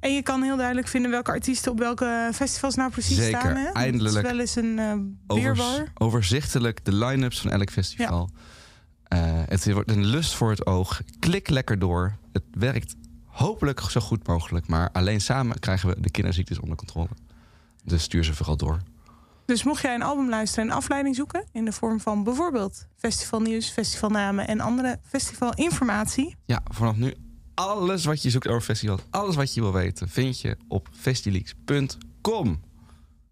En je kan heel duidelijk vinden welke artiesten op welke festivals nou precies
Zeker,
staan. Hè? Dat
eindelijk.
is wel eens een eh weerwar.
Overs- overzichtelijk de line-ups van elk festival. Eh, het wordt een lust voor het oog. Klik lekker door. Het werkt hopelijk zo goed mogelijk. Maar alleen samen krijgen we de kinderziektes onder controle. Dus stuur ze vooral door.
Dus mocht jij een album luisteren en afleiding zoeken... in de vorm van bijvoorbeeld festivalnieuws, festivalnamen... en andere festivalinformatie...
Ja, vanaf nu alles wat je zoekt over festivals, alles wat je wil weten, vind je op festileaks.com.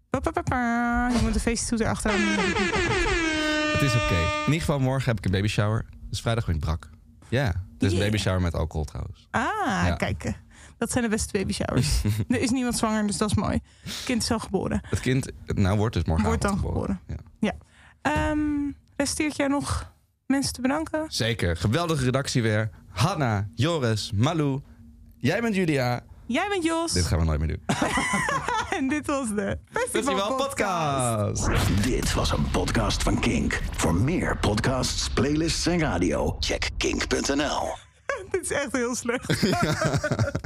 Pa, pa, pa, pa. Je moet de feesttoeter achteraan. doen.
Het is oké. In ieder geval, morgen heb ik een baby shower. Dus vrijdag ben ik brak. Ja, dus
Yeah.
baby shower met alcohol trouwens.
Ah,
Ja.
kijk. Dat zijn de beste baby showers. er is niemand zwanger, dus dat is mooi. Kind is al geboren.
Het kind, nou, wordt dus morgen
Wordt dan geboren.
Ja.
Ehm, resteert jij nog mensen te bedanken?
Zeker. Geweldige redactie weer. Hanna, Joris, Malou. Jij bent Julia.
Jij bent Jos.
Dit gaan we nooit meer doen.
En dit was de Festival,
Festival Podcast.
Dit was een podcast van Kink. Voor meer podcasts, playlists en radio, check kink.nl.
Dit is echt heel slecht.